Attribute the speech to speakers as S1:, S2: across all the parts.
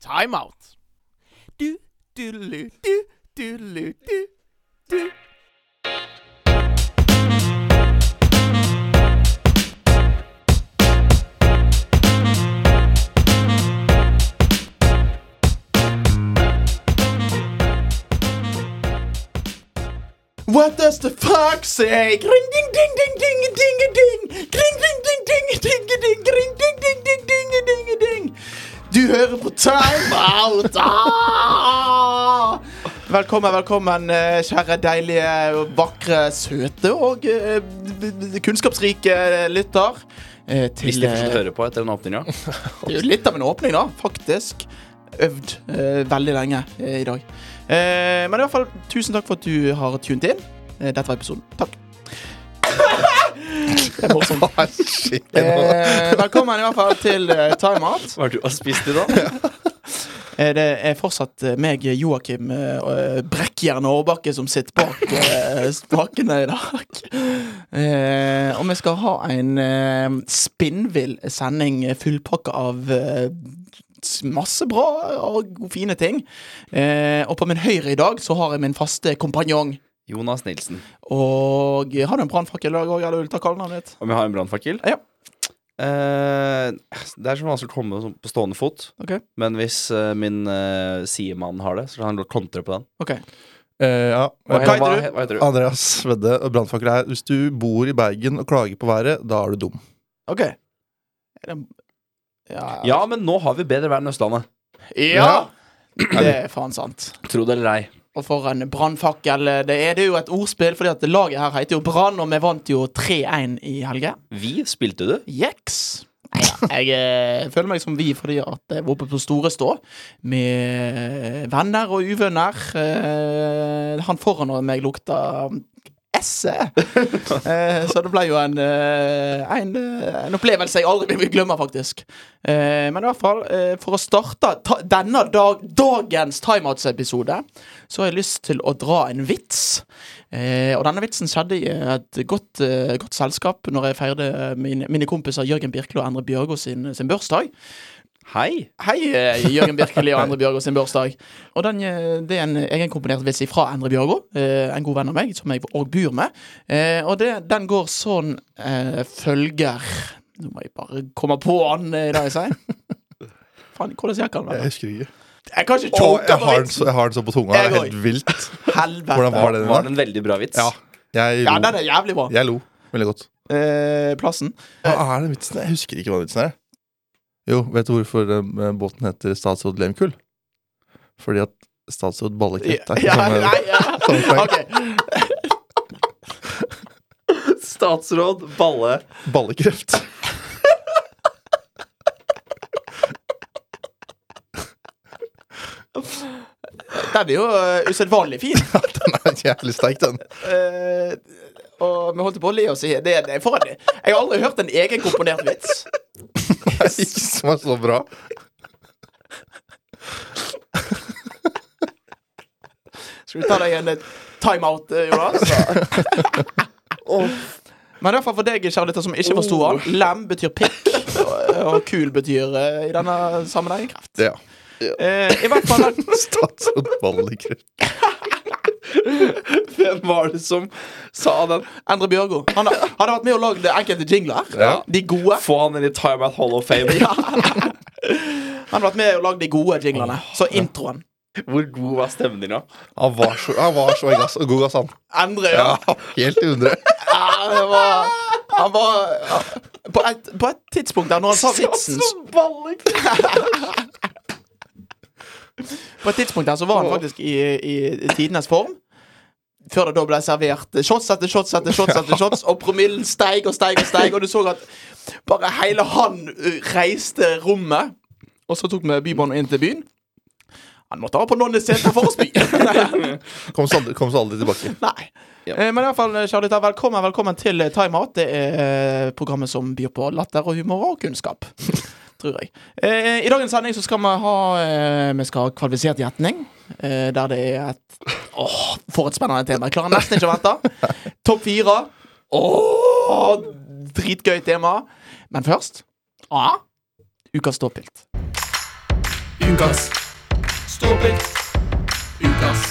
S1: Timeout. Du, dudelu, du, dudelu, du, du. What does the fox say? Gring ding ding ding ding ding ding. Gring ding ding ding ding ding. Gring ding ding ding ding ding ding. Du hører på timeout. Ah! Velkommen, velkommen, eh, kjære deilige, vakre, søte og eh, b- b- kunnskapsrike lytter. eh, Til,
S2: Hvis de fortsatt
S1: eh,
S2: hører på etter den åpninga.
S1: det er jo litt av en åpning, da. Faktisk. Øvd eh, veldig lenge eh, i dag. Eh, men i hvert fall, tusen takk for at du har tunet inn. Eh, dette var episoden. Takk. Det er morsomt. Eh, velkommen i hvert fall til eh, Timeout.
S2: Hva er det du har spist i dag?
S1: Eh, det er fortsatt eh, meg, Joakim eh, og, eh, Brekkjern Aarbakke, som sitter bak eh, spakene i dag. Eh, og vi skal ha en eh, spinnvill sending eh, fullpakka av eh, s- masse bra og fine ting. Eh, og på min høyre i dag så har jeg min faste kompanjong.
S2: Jonas Nilsen.
S1: Og har du en brannfakkel i dag òg, eller vil du ta kallenavnet ditt?
S2: Om jeg har en brannfakkel?
S1: Ja.
S2: Eh, det er så vanskelig å komme sånn på stående fot,
S1: Ok.
S2: men hvis eh, min eh, sidemann har det, så kan han godt kontre på den.
S1: Ok.
S3: Eh, ja.
S2: Hva,
S1: heter
S2: hva,
S1: du?
S2: he- hva heter du?
S3: Andreas Vedde og brannfakkel her. Hvis du bor i Bergen og klager på været, da er du dum.
S1: ok Er det ja.
S2: Ja, men nå har vi bedre vær enn Østlandet.
S1: ja! Det er faen sant.
S2: Tro det eller ei.
S1: Og for en brannfakkel. eh, Det er, det er jo et ordspill, fordi at laget her heter jo Brann, og vi vant jo 3-1 i helga.
S2: Vi spilte du.
S1: Jeks. Neida, Jeg eh, føler meg som vi fordi at jeg var oppe på store stå med venner og uvenner. Eh, han foran meg lukta esse. Eh, så det ble jo en, eh, en, eh, en opplevelse jeg aldri vil glemme, faktisk. Eh, men i hvert fall, eh, for å starte ta, denne dag, dagens timeouts-episode, så har jeg lyst til å dra en vits. Eh, og denne vitsen skjedde i et godt, eh, godt selskap når jeg feirte mine, mine kompiser Jørgen Birkeli og Endre Bjørgo sin, sin bursdag.
S2: Hei.
S1: Hei, eh, Jørgen Birkeli og Endre Bjørgo sin bursdag. Og den, eh, Det er en egenkomponert vits fra Endre Bjørgo, eh, en god venn av meg, som jeg òg bor med. Eh, Og det, den går sånn eh, følger Nå må jeg bare komme på han eh, i dag, jeg sier. Faen, hvordan gikk han?
S3: Jeg
S1: da?
S3: husker ikke.
S1: Jeg kan ikke
S3: Å,
S1: choke
S3: jeg,
S1: på
S3: har den så,
S1: vitsen!
S3: jeg har den så på tunga. Det
S1: Jeg
S3: er
S1: går.
S3: helt vilt. Hvordan
S1: Helvete.
S3: var det?
S2: Var det
S3: den da?
S2: en veldig bra vits?
S3: Ja. Jeg
S1: Ja, den
S3: lo.
S1: er jævlig bra.
S3: Jeg lo veldig godt.
S1: Eh, Plassen.
S3: Hva er den vitsen? Jeg husker ikke hva den vitsen er. Jo, vet du hvorfor eh, båten heter statsråd Lehmkuhl? Fordi at statsråd Ballekett er ikke
S1: Ja,
S3: sånn
S1: nei, ja.
S3: Samme
S1: Ok.
S3: poeng.
S2: Statsråd Balle.
S3: Ballekreft.
S1: Den er jo uh, usedvanlig fin.
S3: Den er jævlig sterk, den.
S1: Eh, og vi holdt på å le oss i det, det er for en, Jeg har aldri hørt en egenkomponert vits.
S3: Det er ikke som er så bra.
S1: Skal du ta deg en eh, timeout, eh, Jonas? Men i hvert fall for deg, kjære lytter, som ikke forsto han, lem betyr pikk, og, og kul betyr eh, i denne sammenhengen kreft.
S3: Ja.
S1: Eh, I hvert fall den
S3: Statsråd Ballekreft.
S2: Hvem var det som sa den?
S1: Endre Bjørgo. Han har, han har vært med og lagd enkelte jingler.
S3: Ja.
S1: De gode.
S2: Få han inn i Time Out Hall of Fame.
S1: Ja. Han har vært med og lagd de gode jinglene. Så introen.
S2: Hvor god var stemninga?
S3: Han var så, han var så gass, god altså. gass, han.
S1: Endre, ja.
S3: Ja, helt i hundre.
S1: Ja, det var Han var ja, på, et, på et tidspunkt der når Altså, han sa vitsen s- På et tidspunkt der så var han faktisk i, i, i tidenes form. Før det da ble servert shots etter shots etter shots, etter shots og promillen steig og steig, og steig og du så at bare hele han uh, reiste rommet. Og så tok vi Bybanen inn til byen. Han måtte ha på nonneseter for å spy. Nei.
S3: Kom så aldri, kom så aldri tilbake.
S1: Nei.
S2: Ja.
S1: Eh, Men i hvert fall, kjære lytter, velkommen, velkommen til eh, Timeout. Det er eh, programmet som byr på latter og humor og kunnskap. Tror jeg. Eh, I dagens sending så skal vi ha eh, Vi skal ha kvalifisert gjetning. Eh, der det er et Åh, for et spennende tema. Jeg klarer nesten ikke å vente. Topp fire. Åh, dritgøy tema. Men først A. Ukas ståpilt. Ukas ståpikk. Ukas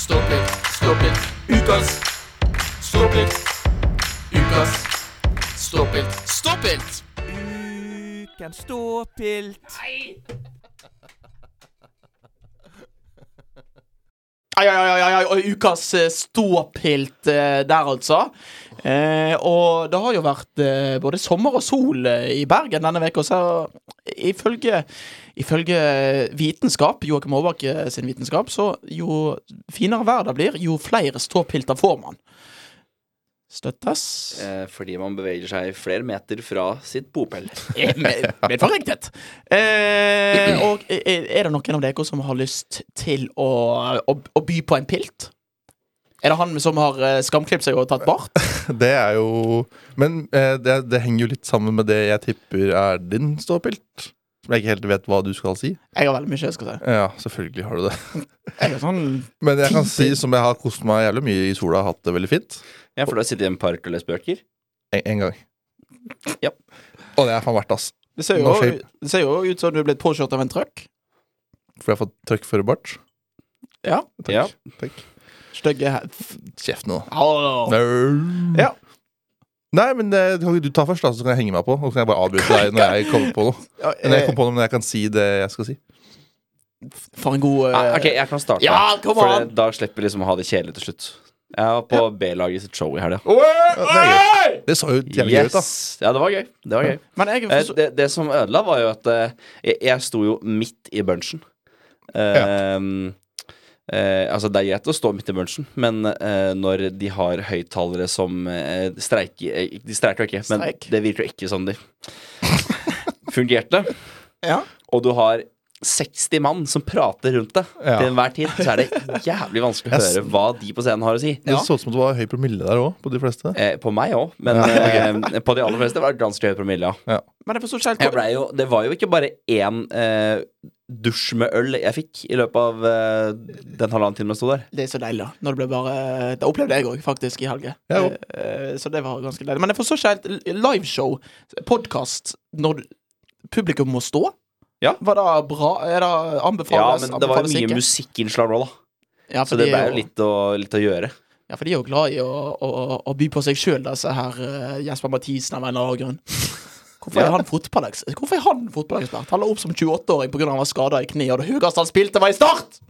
S1: ståpikk, ståpikk. Ukas ståpikk. Ukas ståpikk, ståpikk.
S4: Ukens ståpilt.
S1: Ai, ai, ai, ai, ai, og ukas eh, ståpilt eh, der, altså. Eh, og det har jo vært eh, både sommer og sol eh, i Bergen denne uka, så ifølge, ifølge vitenskap, Joakim Aarbakke sin vitenskap, så jo finere vær det blir, jo flere ståpilter får man. Støttes.
S2: Eh, fordi man beveger seg flere meter fra sitt bopel.
S1: Eh, med- Med forriktighet. Eh, og eh, er det noen av dere som har lyst til å, å, å by på en pilt? Er det han som har eh, skamklipt seg og tatt bart?
S3: Det er jo Men eh, det, det henger jo litt sammen med det jeg tipper er din ståpilt. Som jeg ikke helt vet hva du skal si.
S1: Jeg har veldig mye jeg skal si.
S3: Ja, selvfølgelig har du det.
S1: Jeg er sånn
S3: Men jeg kan si, som jeg har kost meg jævlig mye i sola, hatt det veldig fint.
S2: Ja, for du har sittet i en park og lest bøker?
S3: En, en gang.
S2: Ja.
S3: Og det er faen verdt, ass.
S1: Det ser,
S3: No
S1: jo,
S3: shape.
S1: det ser jo ut som du er blitt påkjørt av en truck.
S3: For jeg har fått trøkk for bart.
S1: Ja.
S3: Takk.
S2: Ja.
S3: Takk.
S1: Stygge hat.
S3: Kjeft nå.
S1: Au.
S3: Nei.
S1: Ja.
S3: Nei, men det kan ikke du ta først, da, så kan jeg henge meg på. Og så kan jeg bare avbryte deg når jeg kommer på noe.
S1: Ja,
S3: Når jeg
S1: eh,
S3: kommer på noe, men jeg kan si det jeg skal si.
S1: For en god eh,
S2: Ah, ok, jeg kan starte.
S1: Ja, come
S2: for
S1: on!
S2: det- da slipper vi liksom å ha det kjedelig til slutt. Jeg var på B-laget sitt show i helga.
S3: Ja, det, er gøy. det så jo jævlig gøy ut, da.
S2: Yes! Ja, det var gøy. Det var gøy.
S1: Men jeg
S2: Eh,
S1: forstår-
S2: det, det som ødela, var jo at eh, jeg, jeg sto jo midt i bunchen. Eh, eh, altså, det er greit å stå midt i bunchen, men eh, når de har høyttalere som eh, streiker eh, De streiker jo ikke, men
S1: Streik.
S2: det virker jo ikke som de fungerte.
S1: ja.
S2: Og du har 60 mann som prater rundt deg
S3: Ja.
S2: til enhver tid, så er det jævlig vanskelig å
S3: Jeg s-
S2: høre hva de på scenen har å si.
S3: Det så ut som det var høy promille der òg, på de fleste.
S2: Eh, på meg òg, men eh, på de aller fleste var det ganske høy promille. Ja.
S1: Men jeg forstår ikke helt
S2: Jeg
S1: hvor-
S2: ble jo, det var jo ikke bare én eh, dusj med øl jeg fikk i løpet av eh, den halvannen timen jeg sto der.
S1: Det er så deilig, da. Når det ble bare eh, Det opplevde jeg òg, faktisk, i helga.
S3: Jeg òg.
S1: Eh, Så det var ganske deilig. Men jeg forstår ikke helt liveshow, podkast, når du- publikum må stå.
S2: Ja.
S1: Var det bra? Er det
S2: Ja,
S1: anbefales?
S2: men det var jo
S1: anbefales
S2: mye
S1: ikke?
S2: musikkinnslag nå, da.
S1: Ja, for
S2: Så det
S1: de
S2: ble
S1: er jo-
S2: jo litt å, litt å gjøre.
S1: Ja, for de er jo glad i å, å, å- å by på seg sjøl, disse her eh, Jesper Mathisen av en eller annen grunn. Hvorfor er
S2: Ja.
S1: han fotballeks- Hvorfor er han fotballekspert? Han la opp som 28-åring pga. han var skada i kneet, og det høyeste han spilte, var i Start!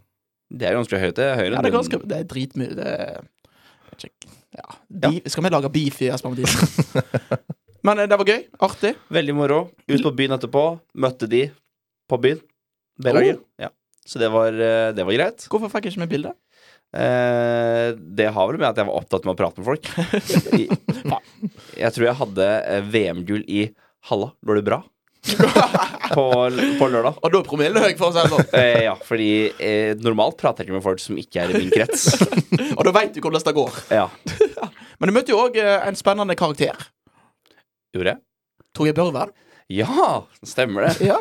S2: Det er ganske høyt. Det er høyere
S1: Ja,
S2: enn
S1: det er ganske
S2: den-
S1: Det er dritmye. Det er, jeg vet ikke. ja. Beef- Skal vi lage beef i Jesper Mathisen? Men eh, det var gøy. Artig.
S2: Veldig moro. Ut på byen etterpå. Møtte de på byen. B-laget. Ja. Så det var, eh, det var greit.
S1: Hvorfor fikk jeg ikke med bilde?
S2: Eh, det har vel med at jeg var opptatt med å prate med folk. I, jeg tror jeg hadde eh, VM-gull i Halla, går det bra? på, på lørdag.
S1: Og da er promillen høy, for å si det sånn.
S2: Eh, ja, fordi eh, normalt prater jeg ikke med folk som ikke er i min krets.
S1: Og da veit du hvordan det går.
S2: Ja,
S1: Men du møtte jo òg en spennende karakter.
S2: Gjorde jeg?
S1: Torgeir Børven.
S2: Ja, stemmer det.
S1: Ja.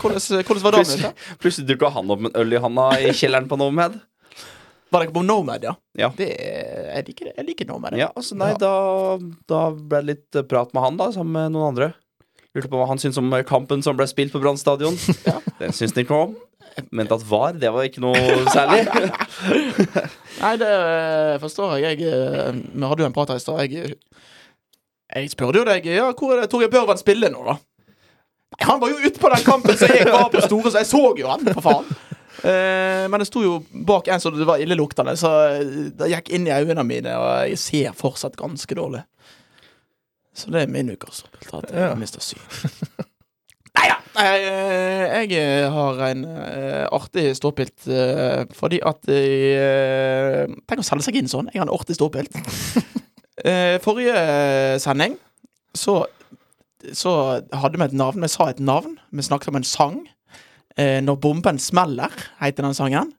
S1: Hvordan, eh, hvordan var det?
S2: Plutselig, plutselig dukka han opp med en øl i handa i kjelleren på Nomad.
S1: Var det ikke på Nomad, ja?
S2: Ja.
S1: Det, er- jeg, liker, det- jeg liker Nomad. jeg.
S2: Ja, altså nei, da, da ble det litt eh, prat med han, da, sammen med noen andre. Lurte på hva han syntes om eh, kampen som ble spilt på Brann stadion. Den syntes han ikke om. Mente at VAR, det var ikke noe særlig.
S1: Nei, det eh, forstår jeg. jeg eh, vi hadde jo en prat her i stad. Jeg, jeg spurte jo deg ja, hvor er det Torgeir Børven spiller nå, da? Nei, han var jo ute på den kampen som jeg var på store, så jeg så jo han, for faen. Eh, men det sto jo bak en så det var illeluktende, så eh, det gikk inn i øynene mine, og jeg ser fortsatt ganske dårlig. Så det er min ukas resultat. Jeg
S3: Ja.
S1: har mista syn. Nei ja! Jeg, jeg, eh, har en eh, artig ståpilt eh, fordi at eh, Tenk å selge seg inn sånn. Jeg har en artig ståpilt. Eh, forrige sending så, så hadde vi et navn. Vi sa et navn. Vi snakket om en sang. Eh, 'Når bomben smeller' heter den sangen.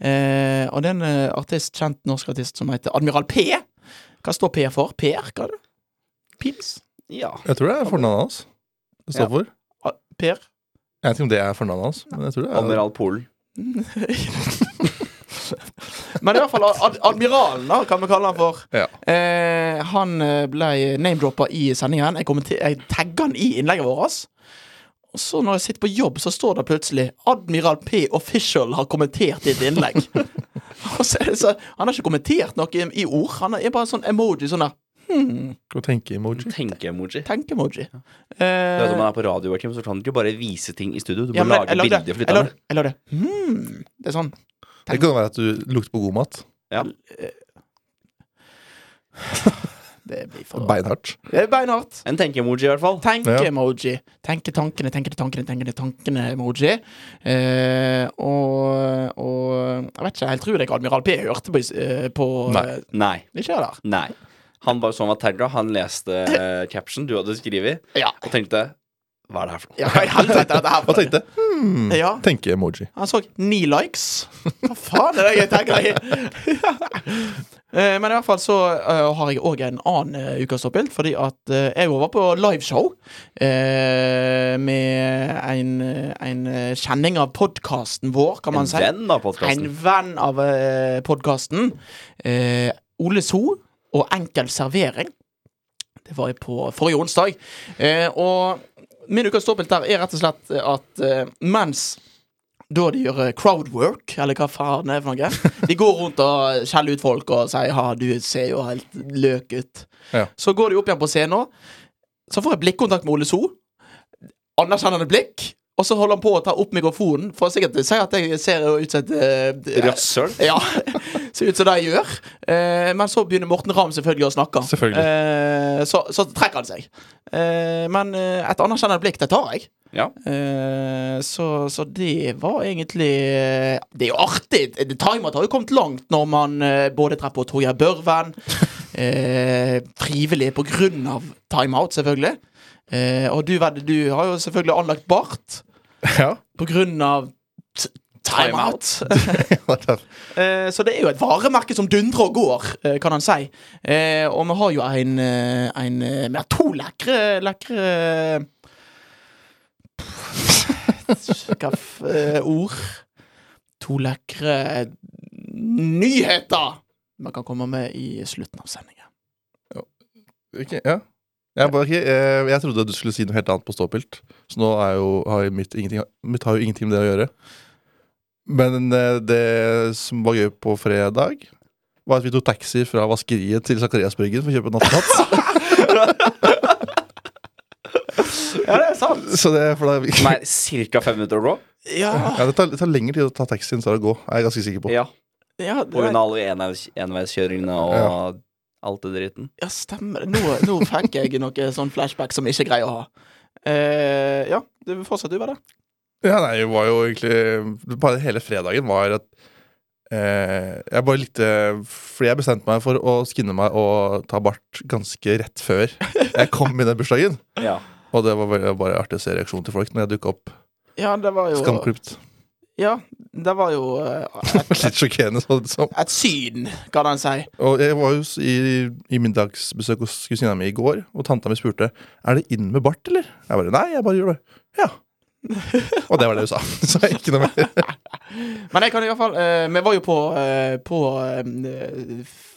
S1: Eh, og det er en eh, artist, kjent norsk artist som heter Admiral P. Hva står P for? Per? Hva er det? Pils?
S2: Ja.
S3: Jeg tror det er fornavnet hans. Det står
S2: Ja.
S3: for.
S1: A- Per?
S3: Jeg vet ikke om det er fornavnet hans, men jeg tror det er
S2: Admiral Polen.
S1: Men i hvert fall ad admiralen, da, kan vi kalle han for.
S3: Ja.
S1: Eh, han eh, ble name-droppa i sendingen. Jeg, kommenter- jeg tagga han i innlegget vårt. Og så når jeg sitter på jobb, så står det plutselig 'Admiral P. Official har kommentert ditt innlegg'. og så er det så, Han har ikke kommentert noe i, i ord. Han er bare sånn emoji. Sånn der
S3: Skal tenke emoji.
S2: Tenke-emoji.
S1: tenke-emoji.
S2: Du vet, Når
S1: Eh,
S2: man er på radio, Joakim, så kan du ikke bare vise ting i studio. Du må
S1: ja, men
S2: lage
S1: jeg lagde-
S2: bilder for
S1: jeg lagde-
S2: lytterne.
S1: Jeg lagde hmm, Det er sånn
S3: Det kan være at du lukter på god mat.
S2: Ja.
S1: Det blir for
S3: Beinhardt.
S1: Det er beinhardt.
S2: En tenke-emoji, i hvert fall.
S1: Tenke-emoji. Tenke tankene, tenke tankene, tenke tankene-emoji. Eh, og, og Jeg vet ikke, jeg tror det ikke Admiral P hørte på, eh, på
S3: Nei.
S2: Nei.
S1: Ikke jeg der.
S2: Nei. Han bare så han var tagga, han leste eh, caption du hadde skrevet,
S1: Ja.
S2: og tenkte Hva er det her for noe?
S1: ja hva i helvete er dette her for
S3: Og
S1: noe?
S3: tenkte hmm,
S1: Ja.
S3: tenke emoji.
S1: Han så ni likes. Hva faen er det jeg tenker i? Eh, Men i hvert fall så eh, har jeg òg en annen eh, ukas toppbilt, fordi at eh, jeg var på liveshow eh, med en, en eh, kjenning av podkasten vår, kan man
S2: En
S1: si.
S2: venn av
S1: En
S2: podkasten.
S1: venn av eh, podkasten. Eh, Ole So og Enkel servering. Det var jeg på forrige onsdag. Eh, og min ukas dobbelt der er rett og slett at eh, mens da de gjør eh, crowdwork, eller hva faen det er for noe De går rundt og skjeller ut folk og sier 'ha, du ser jo helt løk ut'.
S3: Ja.
S1: Så går de opp igjen på scenen, så får jeg blikkontakt med Ole So. Anerkjennende blikk. Og så holder han på å ta opp mikrofonen for å sikkert si at jeg ser ut som et eh,
S2: Rasshøl.
S1: ja, ser ut som det jeg gjør. Eh, men så begynner Morten Ramm selvfølgelig å snakke.
S3: Selvfølgelig.
S1: Eh, så, så trekker han seg. Eh, men eh, et anerkjennende blikk, det tar jeg.
S2: Ja.
S1: Eh, så, så det var egentlig eh, Det er jo artig. The Timer har jo kommet langt når man eh, både treffer på Torgeir Børven eh, Frivillig på grunn av timeout, selvfølgelig. Eh, og du, Vedde, du har jo selvfølgelig anlagt bart
S3: Ja.
S1: på grunn av t- timeout.
S3: ja,
S1: Eh, Så det er jo et varemerke som dundrer og går, eh, kan han si. Eh, Og vi har jo en, eh, en eh, Vi har to lekre, eh, lekre Hva f... eh, ord? To lekre eh, nyheter man kan komme med i slutten av sendingen.
S3: ok, ja. Jeg, bare, ok, eh, jeg trodde du skulle si noe helt annet på ståpilt, så nå er jo, har jo mitt, ingenting, mitt har jo ingenting med det å gjøre. Men eh, det som var gøy på fredag, var at vi tok taxi fra vaskeriet til Zakariasbryggen for å kjøpe nattmat.
S1: Ja, det er sant.
S3: så det, for da,
S2: Som er ca. fem minutter å gå.
S1: Ja,
S3: ja, det, tar, det tar lengre tid å ta taxi enn det tar å gå, er jeg ganske sikker på.
S2: Ja.
S1: ja,
S2: På grunn
S1: det,
S2: av alle enveis- enveiskjøringene og alt det dritten.
S1: ja stemmer det. Nå, nå fikk jeg noe sånn flashback som jeg ikke greier å ha. Eh, ja, du fortsatt du, var det?
S3: Ja, nei, det var jo egentlig Bare hele fredagen var at eh, Jeg bare likte Fordi jeg bestemte meg for å skinne meg og ta bart ganske rett før jeg kom i den bursdagen.
S2: Ja.
S3: Og det var bare, bare artig å se reaksjonen til folk når jeg dukka opp
S1: Ja, det var jo
S3: skamklipt.
S1: Ja, det var jo eh, et,
S3: Litt sjokkerende. Så, så.
S1: et syn, kan en si.
S3: Og jeg var jo s- i, i middagsbesøk hos kusina mi i går, og tanta mi spurte Er det inn med bart, eller? Jeg bare Nei, jeg bare gjør det. Ja. Og det var det hun sa. Så ikke noe mer.
S1: Men jeg kan i hvert fall eh, Vi var jo på, eh, på eh, f-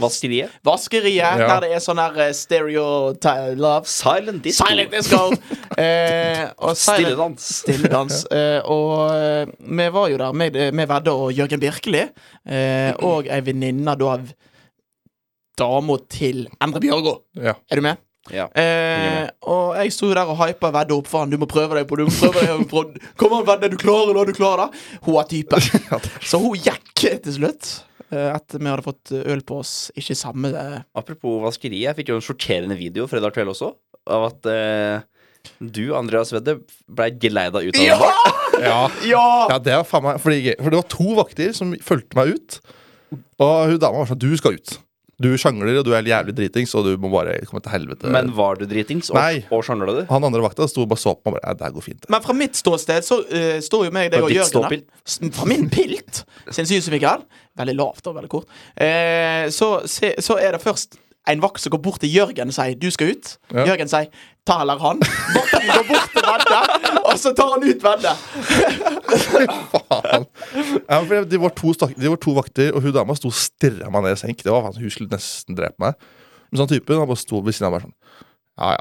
S2: Vaskeriet.
S1: vaskeriet,
S3: Ja.
S1: der det er sånn her eh, stereo ti- love
S2: Silent disco.
S1: Silent disco! eh, og
S2: Stille
S1: silent-
S2: dans.
S1: Stilledans. Eh, og eh, vi var jo der med, eh, med Vedde og Jørgen Birkeli, eh, og ei venninne da av dama til Endre Bjørgo.
S3: Ja.
S1: Er du med?
S2: Ja.
S1: Eh, og jeg sto jo der og hypa Vedde opp for han. Du må prøve deg på du må prøve deg på Kom an, Vedde, du klarer det! Du klarer det! Hun er typen.
S3: Ja, det-
S1: Så hun gikk til slutt. eh, Etter vi hadde fått øl på oss. Ikke samme eh,
S2: Apropos vaskeri, jeg fikk jo en sjokkerende video fredag kveld også, av at eh, du, Andreas Wedde, blei geleida ut av
S1: Ja!
S2: den.
S3: ja.
S1: Ja!
S3: Ja, det var faen meg fordi, For det var to vakter som fulgte meg ut. Og hun dama var sånn Du skal ut. Du sjangler, og du er jævlig dritings, og du må bare komme til helvete.
S2: Men var du dritings, og,
S3: Nei.
S2: og sjangla du?
S3: han andre vakta sto og bare så på meg og bare Ja, det her går fint. det».
S1: Men fra mitt ståsted så eh, står jo meg, deg
S2: Fra
S1: og
S2: ditt
S1: Jørgen der.
S2: ståpilt.
S1: S- Fra min pilt, sin synsvinkel. Veldig lavt og veldig kort. Eh, så, se, så er det først en vakt som går bort til Jørgen og sier 'du skal ut'.
S3: Ja.
S1: Jørgen sier 'ta heller han'. Vakten går bort til Vedde, og så tar han ut Vedde.
S3: Faen. Ja, for de, var to stakk, de var to vakter, og hun dama sto og stirra meg ned i senk. Det var faen, Hun skulle nesten drepe meg. Men sånn typen han bare sto ved siden av meg sånn Ja, ja.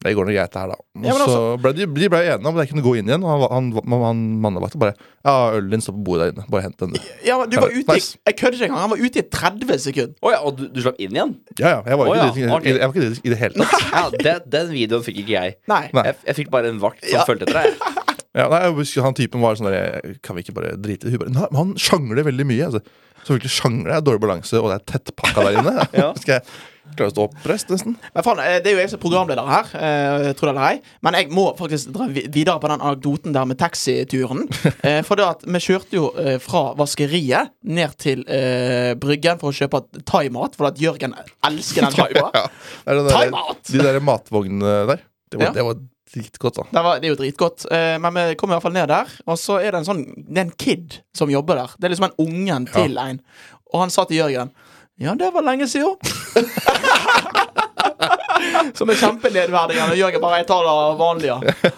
S3: Det går nok greit, det her, da. Og
S1: Ja, men altså-
S3: så ble de, de ble enige om at jeg kunne gå inn igjen. Og han, han, han, han mannevakta bare Ja, ølen din står på bordet der inne. Bare hent den. du.»
S1: Ja, men du var ute i
S3: Nice.
S1: Jeg kødder ikke engang. Han var ute i 30 sekunder.
S2: Å ja, og du, du slapp inn igjen?
S3: Ja, ja. Jeg var
S2: Å,
S3: ikke
S2: ja,
S3: driting
S2: ok.
S3: i- jeg var ikke driting i det hele tatt.
S2: Ja, det, Den videoen fikk ikke jeg.
S1: Nei.
S3: Nei.
S2: Jeg, jeg fikk bare en vakt som fulgte etter deg. jeg.
S3: Ja, nei, jeg husker Han typen var sånn der Kan vi ikke bare drite i det? Hun bare, Nei, men han sjangler veldig mye. Altså. Så virkelig sjangler jeg. Dårlig balanse, og det er tettpakka der inne.
S2: Ja.
S3: Skal jeg klare å stå oppreist, nesten?
S1: Men faen, eh, det er jo jeg som er programleder her, eh, tror det eller ei. Men jeg må faktisk dra vi- videre på den anekdoten der med taxituren. Eh, For det at vi kjørte jo eh, fra vaskeriet ned til eh, bryggen for å kjøpe thaimat, for at Jørgen elsker den thaimat.
S3: Ja. Det er den
S1: Time
S3: der,
S1: out!
S3: de der matvognene der. Det var,
S1: Ja.
S3: det var dritgodt, da.
S1: Det, var, det er jo dritgodt. Eh, men vi kom i hvert fall ned der. Og så er det en sånn Det er en kid som jobber der. Det er liksom en ungen til en. Og han sa til Jørgen Ja, det var lenge siden. som er kjempenedverdigende. Og Jørgen bare Jeg tar det vanlige.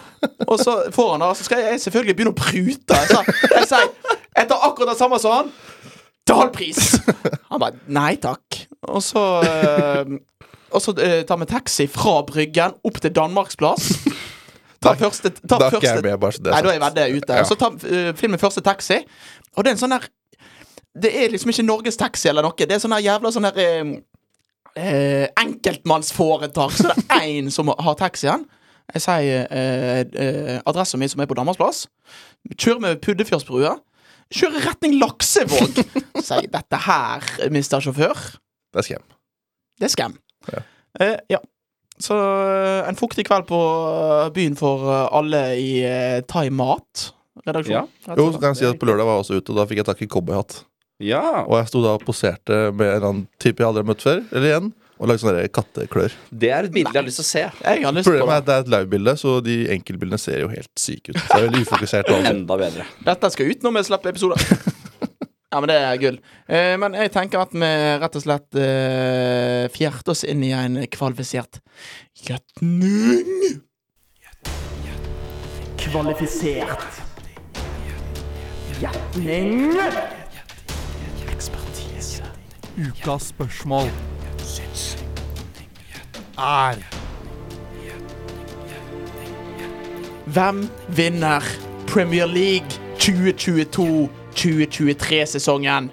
S1: Og så får han det, og så skal jeg selvfølgelig begynne å prute. Jeg sa- Jeg sier Jeg tar akkurat det samme som han. Til halv pris! Han bare Nei takk. Og så eh, og så eh, tar vi taxi fra Bryggen opp til Danmarksplass. Ta første, ta
S3: Da er ikke
S1: første
S3: jeg med, bare så det
S1: Nei,
S3: er
S1: da er
S3: sagt.
S1: veddet ute.
S3: Ja.
S1: Så ta, eh, filmen første taxi. Og det er en sånn der Det er liksom ikke Norges taxi eller noe. Det er sånn der jævla sånn der eh, eh, Enkeltmannsforetak. Så det er én som har taxien. Jeg sier eh, eh, adressen min som er på Danmarksplass. Kjører med Puddefjordsbrua. Kjører retning Laksevåg. Sier 'dette her, mister sjåfør'.
S3: Det er skam.
S1: Det er skam.
S3: Ja.
S1: Eh, ja. Så eh, en fuktig kveld på eh, byen for eh, alle i eh, Thai Mat. Redaksjonen. rett og
S3: Jo,
S1: slett.
S3: så kan jeg si at på lørdag var jeg også ute, og da fikk jeg tak i cowboyhatt.
S2: Ja,
S3: Og jeg sto da og poserte med en eller annen type jeg aldri har møtt før, eller igjen, og lagde sånne der katteklør.
S2: Det er et bilde jeg har lyst til å se.
S1: Jeg har lyst på
S3: Problemet er
S1: det.
S3: at det er et livebilde, så de enkeltbildene ser jo helt syke ut. Så det er veldig ufokusert. og alt.
S2: Enda bedre.
S1: Dette skal ut når vi slipper episoder. ja, men det er gull. Eh, men jeg tenker at vi rett og slett eh, fjerter oss inn i en kvalifisert gjetning. Kvalifisert. Gjetning. Ekspertise.
S4: Ukas spørsmål er
S1: Hvem vinner Premier League 2022-2023-sesongen?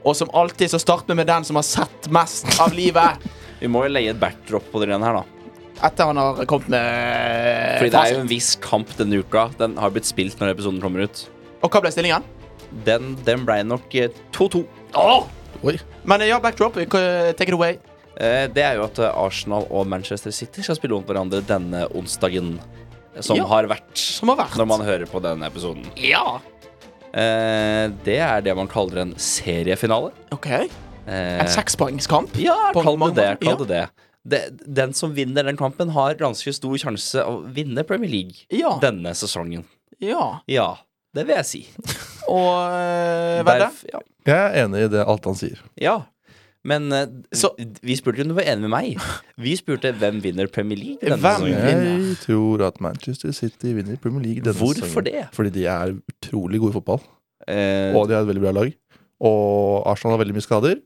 S1: Og som alltid så starter vi med den som har sett mest av livet.
S2: Vi må jo leie et backdrop på den her, da.
S1: Etter han har kommet med
S2: Fordi det er jo en viss kamp denne uka. Den har blitt spilt når episoden kommer ut.
S1: Og hva ble stillingen?
S2: Den, den blei nok eh, 2-2.
S3: Oi.
S1: Men ja, backdrop. eh, Take it away.
S2: Eh, Det er jo at eh, Arsenal og Manchester City skal spille mot hverandre denne onsdagen. eh, Som
S1: Ja.
S2: har vært,
S1: Som har vært.
S2: når man hører på denne episoden.
S1: Ja.
S2: Eh, Det er det man kaller en seriefinale.
S1: OK.
S2: Eh,
S1: En sekspoengskamp.
S2: Ja,
S1: på
S2: kall
S1: mange
S2: det det.
S1: måter,
S2: Kall det det. Det- Den som vinner den kampen, har ganske stor sjanse å vinne Premier League
S1: Ja.
S2: denne sesongen.
S1: Ja.
S2: Ja, det vil jeg si.
S1: Og eh, hva er det?
S2: Derf- ja.
S3: Jeg er enig i det alt han sier.
S2: ja. Men eh,
S1: Så-
S2: vi spurte jo om du var enig med meg. Vi spurte hvem vinner Premier League denne
S1: Hvem?
S2: sesongen.
S3: Jeg tror at Manchester City vinner Premier League denne
S2: Hvorfor det?
S3: Fordi de er utrolig gode i fotball,
S2: Eh,
S3: og de har et veldig bra lag. Og Arsenal har veldig mye skader.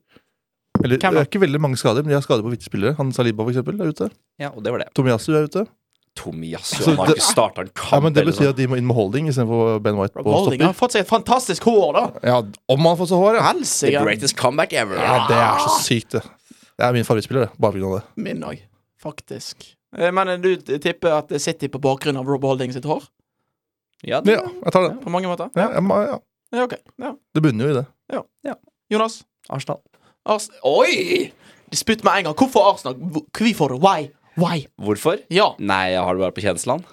S3: Eller,
S1: Hvem
S3: det
S1: da?
S3: er ikke veldig mange skader, men de har skader på viktige spillere. Han Saliba, for eksempel, er ute.
S2: ja, og det var det.
S3: Tomiyasu er ute.
S2: Tomiyasu
S3: Så
S2: han har
S3: det-
S2: ikke starta en kamp.
S3: Ja, men det
S2: eller
S3: betyr
S2: sånn.
S3: at de må inn med holding istedenfor Ben White på
S1: Holding Ah!
S3: stopper.
S1: har fått seg et fantastisk hår, da.
S3: Ja, om han får så hår, ja.
S2: The
S1: Helsike.
S2: greatest comeback ever.
S3: ja! Det er så sykt, det. Det er min favorittspiller, det. Bare pga. det.
S1: Min òg, faktisk. Eh, Men eh, du t- tipper at det sitter på bakgrunn av Rob Holding sitt hår?
S2: Ja,
S3: Men
S2: det,
S3: ja, jeg tar den.
S1: På mange måter?
S3: Ja, jeg må- ja.
S1: Ja, ok. Ja.
S3: Det bunner jo i det.
S1: Jonas?
S2: Arsenal.
S1: Ars Oi! Disputt med en gang. Hvorfor Arsenal? Hvor- Hvorfor? Why? Why?
S2: Hvorfor?
S1: Ja.
S2: Nei, jeg har det bare på kjensland.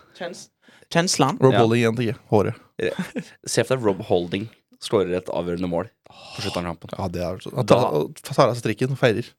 S1: Kjensland?
S3: Rob
S2: Ja.
S3: Holding igjen, tenker jeg. Håret.
S2: Se for deg Rob Holding skårer et avgjørende mål på slutten av kampen.
S3: Ja, det er sånn. Han
S2: Da-
S3: tar, og tar av seg strikken og feirer.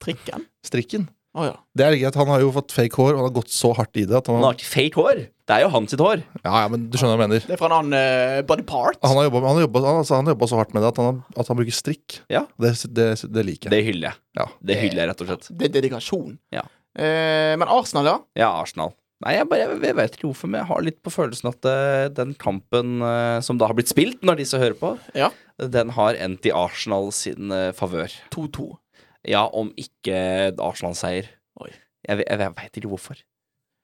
S1: Trikken?
S3: Strikken.
S1: Å ja.
S3: Det er litt greit, Han har jo fått fake hår, og han har gått så hardt i det. At han,
S2: Han har ikke fake hår. Det er jo hans sitt hår.
S3: ja, ja, men du skjønner hva jeg mener
S1: Det er fra en annen eh, body part.
S3: Han har jobba han har jobbet- han, altså, han har jobbet så hardt med det at han, har- at han bruker strikk.
S2: Ja.
S3: Det, det, det liker jeg.
S2: Det hyller jeg.
S3: Ja.
S2: Det hyller jeg, rett og slett.
S1: Det er dedikasjon.
S2: Ja.
S1: Eh, men Arsenal, ja?
S2: Ja, Arsenal. Nei, jeg, bare, jeg vet ikke hvorfor, men jeg har litt på følelsen at eh, den kampen eh, som da har blitt spilt, når disse hører på,
S1: Ja.
S2: den har endt i Arsenal sin eh, favør.
S1: 2-2.
S2: Ja, om ikke Arsenal-seier.
S1: Oi.
S2: Jeg, ve- jeg, ve- jeg veit ikke hvorfor.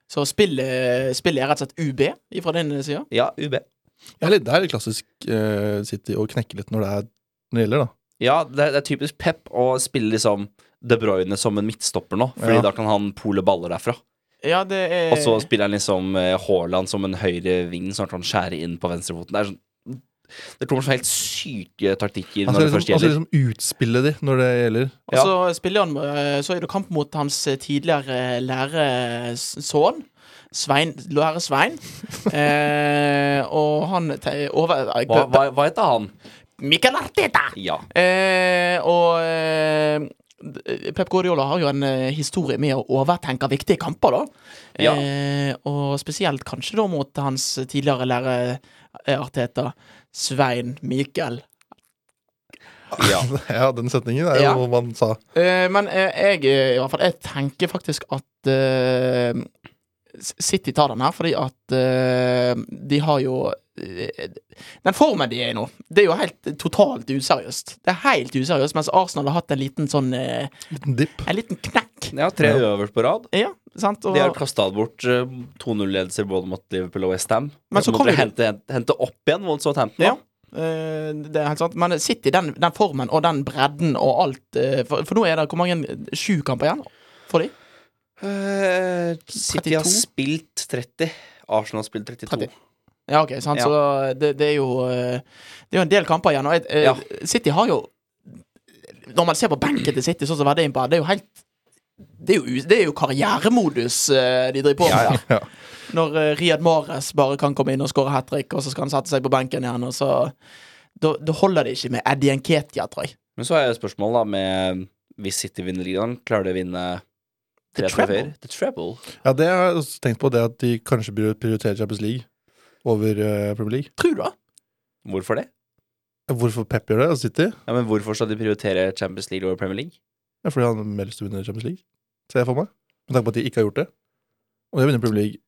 S1: Så spillet, spillet er rett og slett UB fra din side.
S2: Ja, UB.
S3: Det er litt, det er litt klassisk eh, City å knekke litt når det, er, når det gjelder, da.
S2: Ja, det, er- det er typisk Pep å spille liksom De Bruyne som en midtstopper nå, Fordi
S3: Ja.
S2: da kan han pole baller derfra.
S1: Ja, det er
S2: Og så spiller han liksom eh, Haaland som en høyre ving, sånn at han skjærer inn på venstrefoten. Det er sånn Det kommer sånne helt syke taktikker
S3: Han
S2: når
S3: skal
S2: det først
S3: liksom, han
S2: gjelder.
S3: skal liksom utspille de når det gjelder.
S1: Og så spiller han eh, Så er det kamp mot hans eh, tidligere læresønn. Svein, Lærer Svein. eh, og han te- over,
S2: Hva, hva, hva heter han?
S1: Mikael Arteta!
S2: Ja.
S1: Eh, og eh, Pep Guardiola har jo en eh, historie med å overtenke viktige kamper, da.
S2: Ja.
S1: Eh, og spesielt kanskje da mot hans tidligere lærer eh, Arteta, Svein Mikael.
S2: ja.
S3: Ja, den setningen er jo
S1: Ja.
S3: noe man sa.
S1: Eh, men eh, jeg, eh, i hvert fall, jeg tenker faktisk at eh, S- City tar den her, fordi at eh, de har jo eh, Den formen de er i nå, det er jo helt totalt useriøst. Det er helt useriøst, mens Arsenal har hatt en liten sånn eh,
S3: Liten dipp.
S1: En liten knekk.
S2: ja, tre
S3: Ja.
S2: øverst på rad.
S1: Ja, sant? Og,
S2: De har kasta bort eh, 2-0-ledelser både mot Liverpool og Westham.
S1: Men så kommer de-
S2: hente, hente, hente opp igjen mot Southampton.
S1: ja.
S2: da.
S1: Eh, det er helt sant. Men City, den, den formen og den bredden og alt eh, for, for nå er det hvor mange sju kamper igjen for de?
S2: Eh, City har
S1: 32.
S2: spilt 30. Arsenal har spilt 32.
S1: 30. Ja, ok, sant?
S2: Ja.
S1: Så det, det er jo eh, Det er jo en del kamper igjen. Og jeg, eh,
S2: Ja.
S1: City har jo Når man ser på benken til City, sånn som Vedde er inne på her, det er jo helt det er, jo, u- det er jo karrieremodus eh, de driver på med.
S2: Ja, ja.
S3: Ja.
S1: Når eh, Riyad Mahrez bare kan komme inn og skåre hat trick, og så skal han sette seg på benken igjen, og så Da, da holder det ikke med Eddie Nketia, tror jeg.
S2: Men så er jo spørsmålet da med Hvis City vinner ligaen, klarer de å vinne
S1: The
S2: tre trofeer?
S1: treble.
S2: The treble.
S3: Ja, det har jeg også tenkt på, det at de kanskje prior- prioriterer Champions League over eh, Premier League.
S1: Tror du det?
S2: Hvorfor det?
S3: Hvorfor Pep gjør det, og City?
S2: Ja, men Hvorfor skal de prioritere Champions League over Premier League?
S3: Ja, fordi han har mer lyst til å vinne Champions League, ser jeg for meg. Med tanke på at de ikke har gjort det. Og de har vunnet Premier League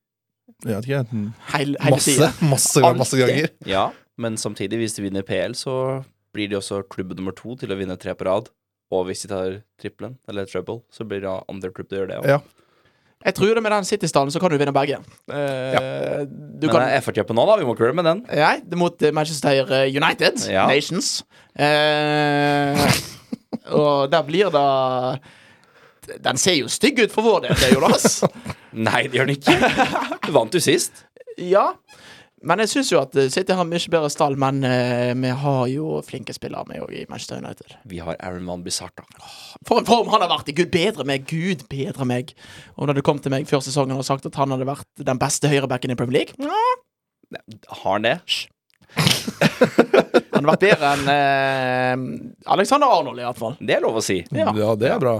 S3: jeg vet ikke, enten
S1: Hele, hele
S3: masse,
S1: tiden.
S3: masse, ganger, masse
S1: Alltid.
S3: ganger.
S2: Ja, men samtidig, hvis de vinner PL, så blir de også klubb nummer to til å vinne tre på rad. Og hvis de tar trippelen, eller treble, så blir det andre klubb til å gjøre det òg.
S3: Ja.
S1: Jeg tror det med den City-stallen, så kan du vinne begge. Eh, Du
S2: Men
S1: kan
S2: det er FRT på nå, da. Vi må ikke gjøre det med den.
S1: Nei, det er mot eh, Manchester United
S2: Ja.
S1: Nations. Eh, og der blir det Den ser jo stygg ut for vår del, det, Jonas.
S2: Nei, det gjør den ikke. Du vant jo sist.
S1: ja. Men jeg syns jo at eh, City har mye bedre stall, men eh, vi har jo flinke spillere med òg i Manchester United.
S2: Vi har Aaron Van Bissarta.
S1: For en form han har vært i! Gud bedre meg! Gud bedre meg! Og da du kom til meg før sesongen og sagt at han hadde vært den beste høyrebacken i Premier League ja,
S2: Har han det?
S1: Han har vært bedre enn eh, Alexander Arnold, i hvert fall.
S2: Det er lov å si.
S1: Ja.
S3: Ja, det er bra.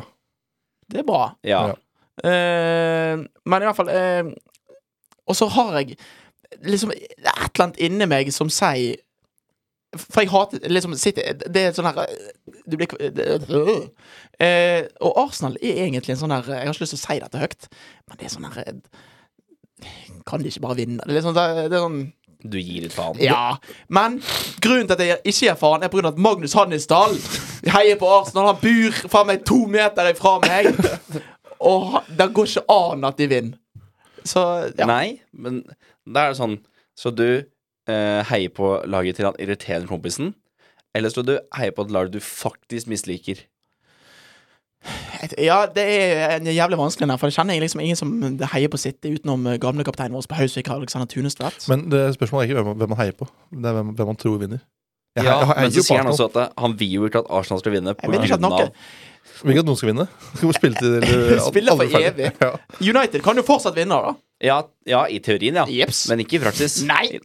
S1: Det er bra.
S2: Ja.
S3: Ja.
S1: Eh, men i hvert fall eh, Og så har jeg liksom et eller annet inni meg som sier For jeg hater liksom City Det er sånn her eh, Du blir kv- det- øh. eh, Og Arsenal er egentlig en sånn her Jeg har ikke lyst til å si dette høyt, men det er sånn her eh, Kan de ikke bare vinne? Det er, liksom, det er sånn
S2: Du gir litt faen.
S1: ja, men grunnen til at jeg ikke er faen, er pga. at Magnus Hannisdal heier på Arsenal. Han bor faen meg to meter ifra meg, og han- det går ikke an at de vinner. Så ja.
S2: Nei, men da er det sånn Så du eh, heier på laget til han irriterende kompisen, eller så du heier på et lag du faktisk misliker.
S1: Et- ja, det er en jævlig vanskelig, der, for jeg kjenner jeg liksom ingen som heier på City utenom eh, gamle kapteinen vår på Hausvik, Alexander Tunestvedt.
S3: Men det spørsmålet er ikke hvem, man- hvem man heier på, det er hvem, hvem man tror vinner. Jeg
S2: Ja,
S3: heier- jeg heier
S2: men
S3: jo
S2: så
S3: på
S2: sier han også
S3: Arsenal.
S2: at eh, han vil jo ikke at Arsenal skal vinne.
S1: Jeg vil ikke at noe
S3: Jeg Vil ikke at noen skal vinne. Skal bare spille til eller,
S1: Spille for
S3: aldri ferdig.
S1: evig.
S3: Ja.
S1: United kan jo fortsatt vinne, da.
S2: Ja, ja, i teorien, ja.
S1: Jeps.
S2: Men ikke i praksis.
S1: Nei!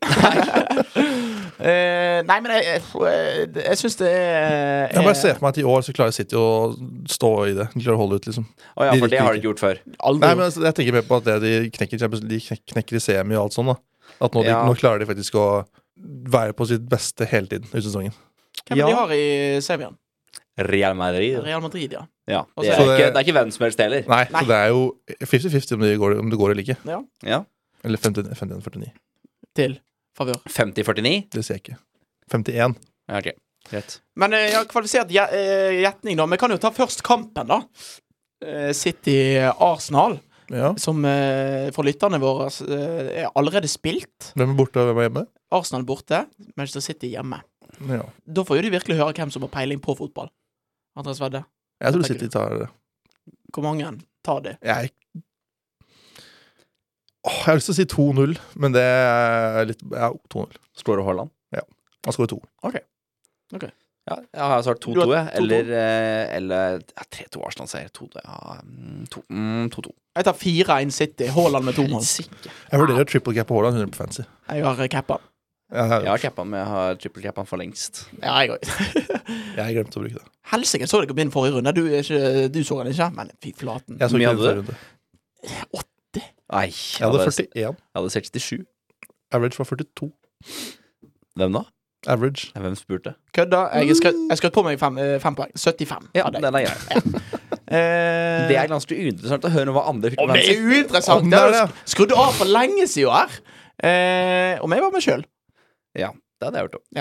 S1: Eh, nei, men jeg, jeg, jeg syns det er
S3: Jeg bare ser for meg at i år så klarer City å stå i det. De klarer å holde ut, liksom.
S2: Å ja,
S3: De
S2: for det
S3: likte
S2: har
S3: ikke.
S2: du ikke gjort før.
S1: aldri
S3: Nei, men altså, jeg tenker mer på at det de knekker, Champions- de knek- knekker i semi og alt sånn, da. At nå, de,
S2: Ja.
S3: nå klarer de faktisk å være på sitt beste hele tiden ut sesongen.
S1: Hvem er det de har i semien?
S2: Real Madrid.
S1: Real Madrid, ja.
S2: Ja.
S1: Og
S2: Det
S1: så-
S2: er,
S3: Så
S2: ikke,
S3: det-
S2: det er ikke hvem som helst heller.
S3: Nei,
S1: Nei.
S3: så det er jo 50-50 om, det går- om det går eller ikke.
S2: Ja.
S3: Eller 50 51-49.
S1: Til favør.
S2: 50-49?
S3: Det ser jeg ikke. 51.
S2: Ja, ok. Greit.
S1: Men eh, jeg har kvalifisert gje- eh, gjetning, da. Vi kan jo ta først kampen, da. Eh, City-Arsenal.
S3: Ja.
S1: som eh, for lytterne våre eh, er allerede spilt.
S3: Hvem er borte, og hvem er hjemme?
S1: Arsenal borte, Manchester City hjemme.
S3: Ja.
S1: Da får jo de virkelig høre hvem som har peiling på fotball. Andreas Vedde,
S3: Jeg tror
S1: Tenker
S3: City tar det.
S1: hvor mange tar de?
S3: Jeg Åh, jeg har lyst til å si 2-0, men det er litt Ja, 2-0.
S2: Slår du Haaland?
S3: Han skårer to.
S2: Ja, jeg har svart
S1: Du
S2: 2-2,
S1: har
S2: jeg.
S1: 2-2.
S2: Eller, eh, eller ja, 3-2 Arsenal-seier. 2-2. Ja, mm, to- mm, 2-2.
S1: Jeg tar 4-1 City, Haaland med to mål.
S3: Jeg vurderer triple cap på Haaland 100 på fancy.
S1: Jeg har eh, cappa.
S3: Jeg, har-
S2: Jeg har cappa men jeg har triple cappa for lengst.
S1: Ja, jeg òg.
S3: jeg glemte å bruke det.
S1: Helsike, så dere på min forrige runde? Du, er ikke, du så den ikke? Men fy flaten.
S3: Jeg så
S2: Mye
S3: ikke
S2: hadde
S3: det.
S2: du?
S3: runde.
S2: Nei,
S3: Jeg hadde 41.
S2: jeg hadde 67.
S3: Average var 42.
S2: Hvem da?
S3: Average.
S2: Hvem spurte?
S1: Kødda. Jeg skrøt- jeg skrøt på meg fem, eh, fem poeng. 75.
S2: Ja,
S1: hadde
S2: den
S1: jeg.
S2: er grei.
S1: Eh,
S2: Det er ganske uinteressant å høre hva andre fikk
S1: Å,
S2: med
S1: det er
S2: seg.
S1: uinteressant!
S3: Om
S1: Det har
S3: det er
S1: jeg sk- skrudd av for lenge siden her. Eh, om jeg var meg sjøl.
S2: Ja, det hadde jeg hørt om.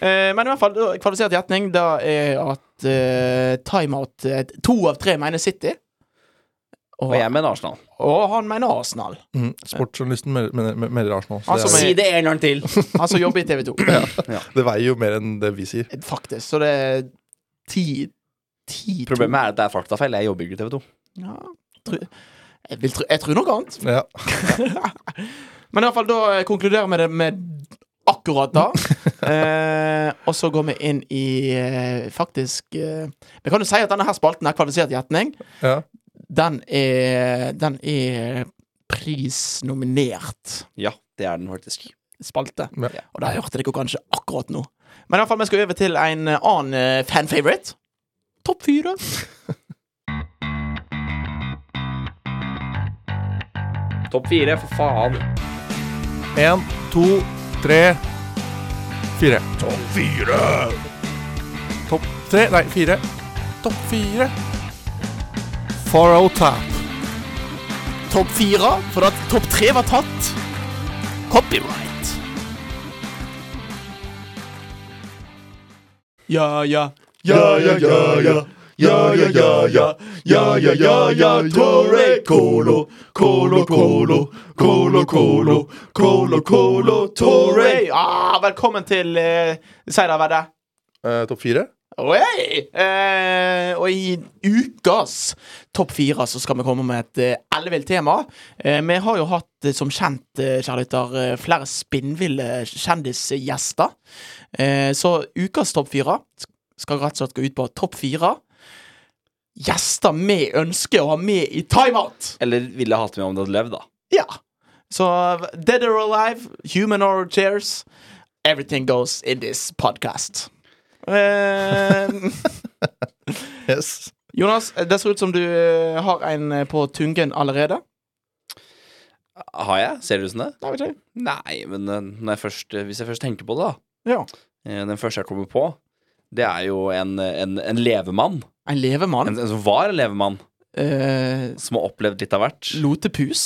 S1: Eh, men i hvert fall, da, kvalifisert gjetning da er at eh, timeout eh, To av tre mener City. Og,
S2: Og jeg mener Arsenal.
S1: og han mener Arsenal.
S3: Mm. Sportsjournalisten melder- melder melder Arsenal. Så
S1: Han som
S3: det,
S1: er-
S2: Si det en gang til!
S1: Han som jobber i TV 2.
S3: er, det veier jo mer enn det vi sier.
S1: Faktisk. Så det er ti, ti to.
S2: Problemet er at det er faktafeil. Jeg jobber ikke i TV 2.
S1: ja, tru, jeg, vil tru, jeg tror noe annet.
S3: Ja.
S1: Men i hvert fall, da eh, konkluderer vi det med akkurat da. eh, og så går vi inn i eh, faktisk eh, Vi kan jo si at denne her spalten er kvalifisert gjetning.
S3: Ja.
S1: Den er, den er prisnominert
S2: Ja, det er den faktisk.
S1: spalte.
S3: Ja.
S1: Og det hørte dere kanskje akkurat nå. Men i hvert fall, vi skal over til en eh, annen eh, fan-favorite. Topp fire.
S2: Topp fire, for faen.
S3: Én, to, tre, fire.
S4: Topp fire!
S3: Topp tre Nei, fire. Topp fire. Faro tap.
S1: Topp fire, for at topp tre var tatt. Copyright. Ja, ja.
S4: Ja, ja, ja, ja. Ja, ja, ja, ja. Ja, ja, ja, ja. Torre Colo. Colo, Colo. Colo, Colo. Colo, Colo. Torre.
S1: Hooray! Ah, velkommen til eh, Si det, Vedde.
S3: Eh, topp fire?
S1: Oi! Eh, og i ukas Topp fire så skal vi komme med et eh, ellevilt tema. Eh, vi har jo hatt, eh, som kjent, eh, kjære lytter, eh, flere spinnville kjendisgjester. Eh, så ukas Topp fire sk- skal rett og slett gå ut på Topp fire gjester vi ønsker å ha med i timeout.
S2: Eller ville hatt med om det hadde levd, da.
S1: Ja. Så eh, Dead or Alive, Human or Chairs, everything goes in this podcast. Eh,
S3: Yes.
S1: Jonas, det ser ut som du eh, har en eh, på tungen allerede.
S2: Har jeg? Ser det ut som det?
S1: Det vet jeg.
S2: Nei, men eh, når jeg først, eh, hvis jeg først tenker på det, da.
S1: Ja.
S2: eh, Den første jeg kommer på, det er jo en, en, en levemann.
S1: En
S2: En,
S1: levemann.
S2: en som var en levemann,
S1: Eh,
S2: som har opplevd litt av hvert.
S1: lotepus.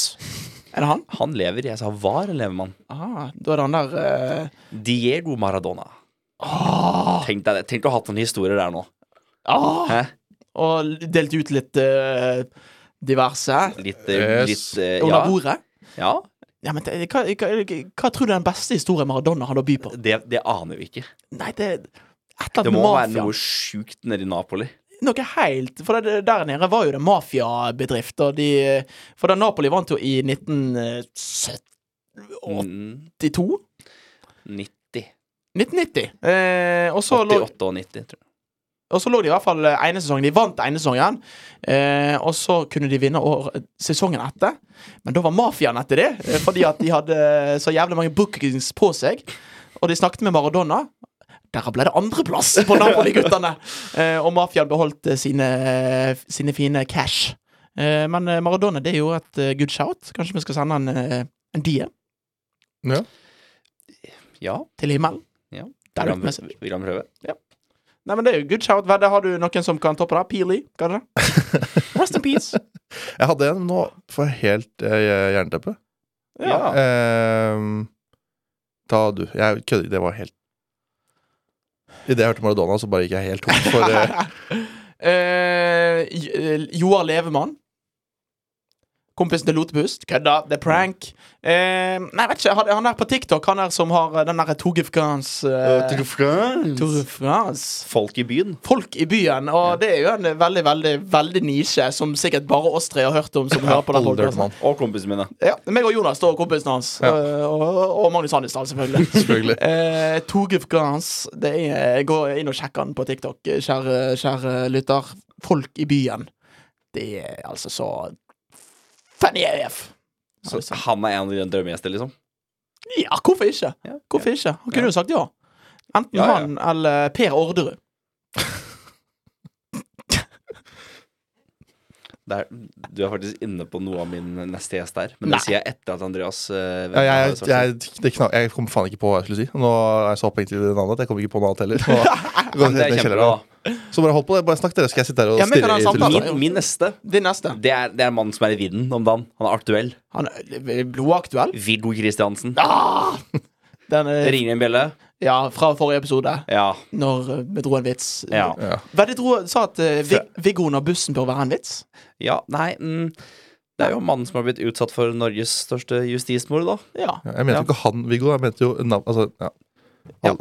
S1: Er det han?
S2: Han lever, jeg sa var en levemann.
S1: Ah, da er det han der eh,
S2: Diego Maradona.
S1: ah,
S2: Tenk deg det. Tenk å ha hatt noen historier der nå.
S1: ah,
S2: Hæ?
S1: Og delt ut litt eh, diverse
S2: Litt, eh,
S3: Yes.
S2: litt eh,
S1: under bordet.
S2: ja. ja.
S1: Ja, men det- hva, hva, hva tror du er den beste historien Maradona hadde å by på?
S2: Det, det aner vi ikke.
S1: Nei, det er et eller
S2: Det
S1: annet
S2: må
S1: med
S2: være
S1: mafia.
S2: noe sjukt nede i Napoli.
S1: Noe helt For det, der nede var jo det mafiabedrift, og de eh, For da Napoli vant jo i eh, 1972
S2: Mm, 90.
S1: 1990. Eh, og, så lå,
S2: 88 og 90, tror jeg.
S1: og så lå de i hvert fall eh, ene sesongen. De vant ene sesongen, eh, og så kunne de vinne år, sesongen etter. Men da var mafiaen etter det, eh, fordi at de hadde eh, så jævlig mange bookings på seg. Og de snakket med Maradona. Der ble det andreplass på Napoli-guttene! Eh, og mafiaen beholdt eh, sine, sine fine cash. Eh, men eh, Maradona, det er jo et eh, good shout. Kanskje vi skal sende en, eh, en DM
S2: Ja,
S1: til himmelen?
S2: Ja. vil
S1: Der er det
S2: han,
S1: message.
S2: vil han prøve?
S1: Nei, men det er jo good shout. Vedde, har du noen som kan toppe det? Peely, kan du det? Rest in peace.
S3: Jeg hadde en, men nå får jeg helt eh, jernteppe.
S2: Ja.
S3: Ehm, ta du. Jeg kødder ikke, det var helt Idet jeg hørte Maradona, så bare gikk jeg helt tom for eh,
S1: Eh, J- eh, Joar Levemann. Kompisen til Lotepust. Kødda. Det er prank. Eh, nei, vet ikke. Han han er på TikTok, han er som har eh, den derre Toge France eh, Tour de France.
S2: Folk i byen.
S1: Folk i byen, og det er jo en veldig veldig, veldig nisje som sikkert bare oss tre har hørt om. Som hører på den
S3: Older
S1: podcasten.
S3: mann,
S2: Og kompisene mine.
S1: Ja, meg og Jonas og kompisen hans. eh, Og, og Magnus Hannesdal, selvfølgelig.
S3: selvfølgelig.
S1: Eh, Torgif Grans. Det er, gå inn og sjekk han på TikTok, eh, kjære, kjære lytter. Folk i byen. Det er altså så Fanny AF.
S2: Så han er en av dine drømmegjester, liksom?
S1: Ja, hvorfor ikke?
S2: Ja.
S1: Hvorfor ikke? Han kunne jo sagt ja. Enten
S2: Ja, ja.
S1: han eller Per Orderud.
S2: Det er- du er faktisk inne på noe av min neste gjest der. Men det
S1: Nei.
S2: sier jeg etter at Andreas eh,
S3: Ja,
S2: Vemdal
S3: jeg,
S2: har svart.
S3: jeg, det kna, jeg kom faen ikke på hva jeg skulle si. Nå er jeg så opphengt i det navnet at jeg kom ikke på noe annet heller. Nå går jeg
S2: Det
S3: helt
S2: er
S3: ned i
S2: kjempebra.
S3: kjelleren. Så bare hold på det. Bare snakk, dere. Skal jeg sitte her og
S1: Ja, men kan
S3: stirre
S1: han
S3: i
S1: samtale?
S3: telefonen?
S2: Min, min neste
S1: Din neste.
S2: det er, det er en mann som er i vinden om dagen. Han er aktuell.
S1: Han er blodaktuell.
S2: Viggo Kristiansen.
S1: Ah! Den
S2: Det
S1: er,
S2: ringer en bjelle.
S1: ja, fra forrige episode,
S2: Ja.
S1: når eh, vi dro en vits.
S2: Ja.
S3: Ja.
S1: Hva er det du dro- sa at eh, Vig Viggo under bussen bør være en vits?
S2: ja nei, mm, det er jo mannen som har blitt utsatt for Norges største justismord, da.
S1: Ja.
S3: Ja, jeg mente jo ikke han, Viggo. Jeg mente jo navn... Altså, ja. Han,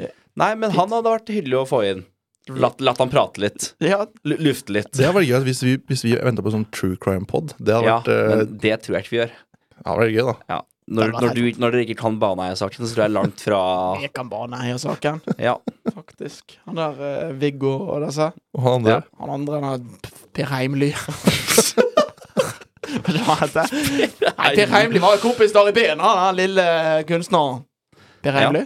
S3: ja.
S2: Nei, men han hadde vært hyggelig å få inn. Latt, latt han prate litt.
S1: ja.
S2: Lu- Lufte litt.
S3: Det hadde vært gøy at hvis vi, hvis vi venta på sånn true crime-pod. Det hadde
S2: Ja,
S3: vært, eh,
S2: men det tror jeg ikke vi gjør.
S3: det hadde vært gøy, da.
S2: Ja. Når,
S1: Det var
S2: når, du, når dere ikke kan Baneheia-saken, så tror jeg langt fra
S1: Jeg kan bare nei av saken,
S2: Ja.
S1: faktisk. Han der eh, Viggo og disse.
S3: Og han andre.
S2: Ja.
S1: Han andre, han der Per Heimly. Hva er det han heter? Nei, Per Heimly var jo kompis der i byen, han den lille eh, kunstneren. Per Heimly.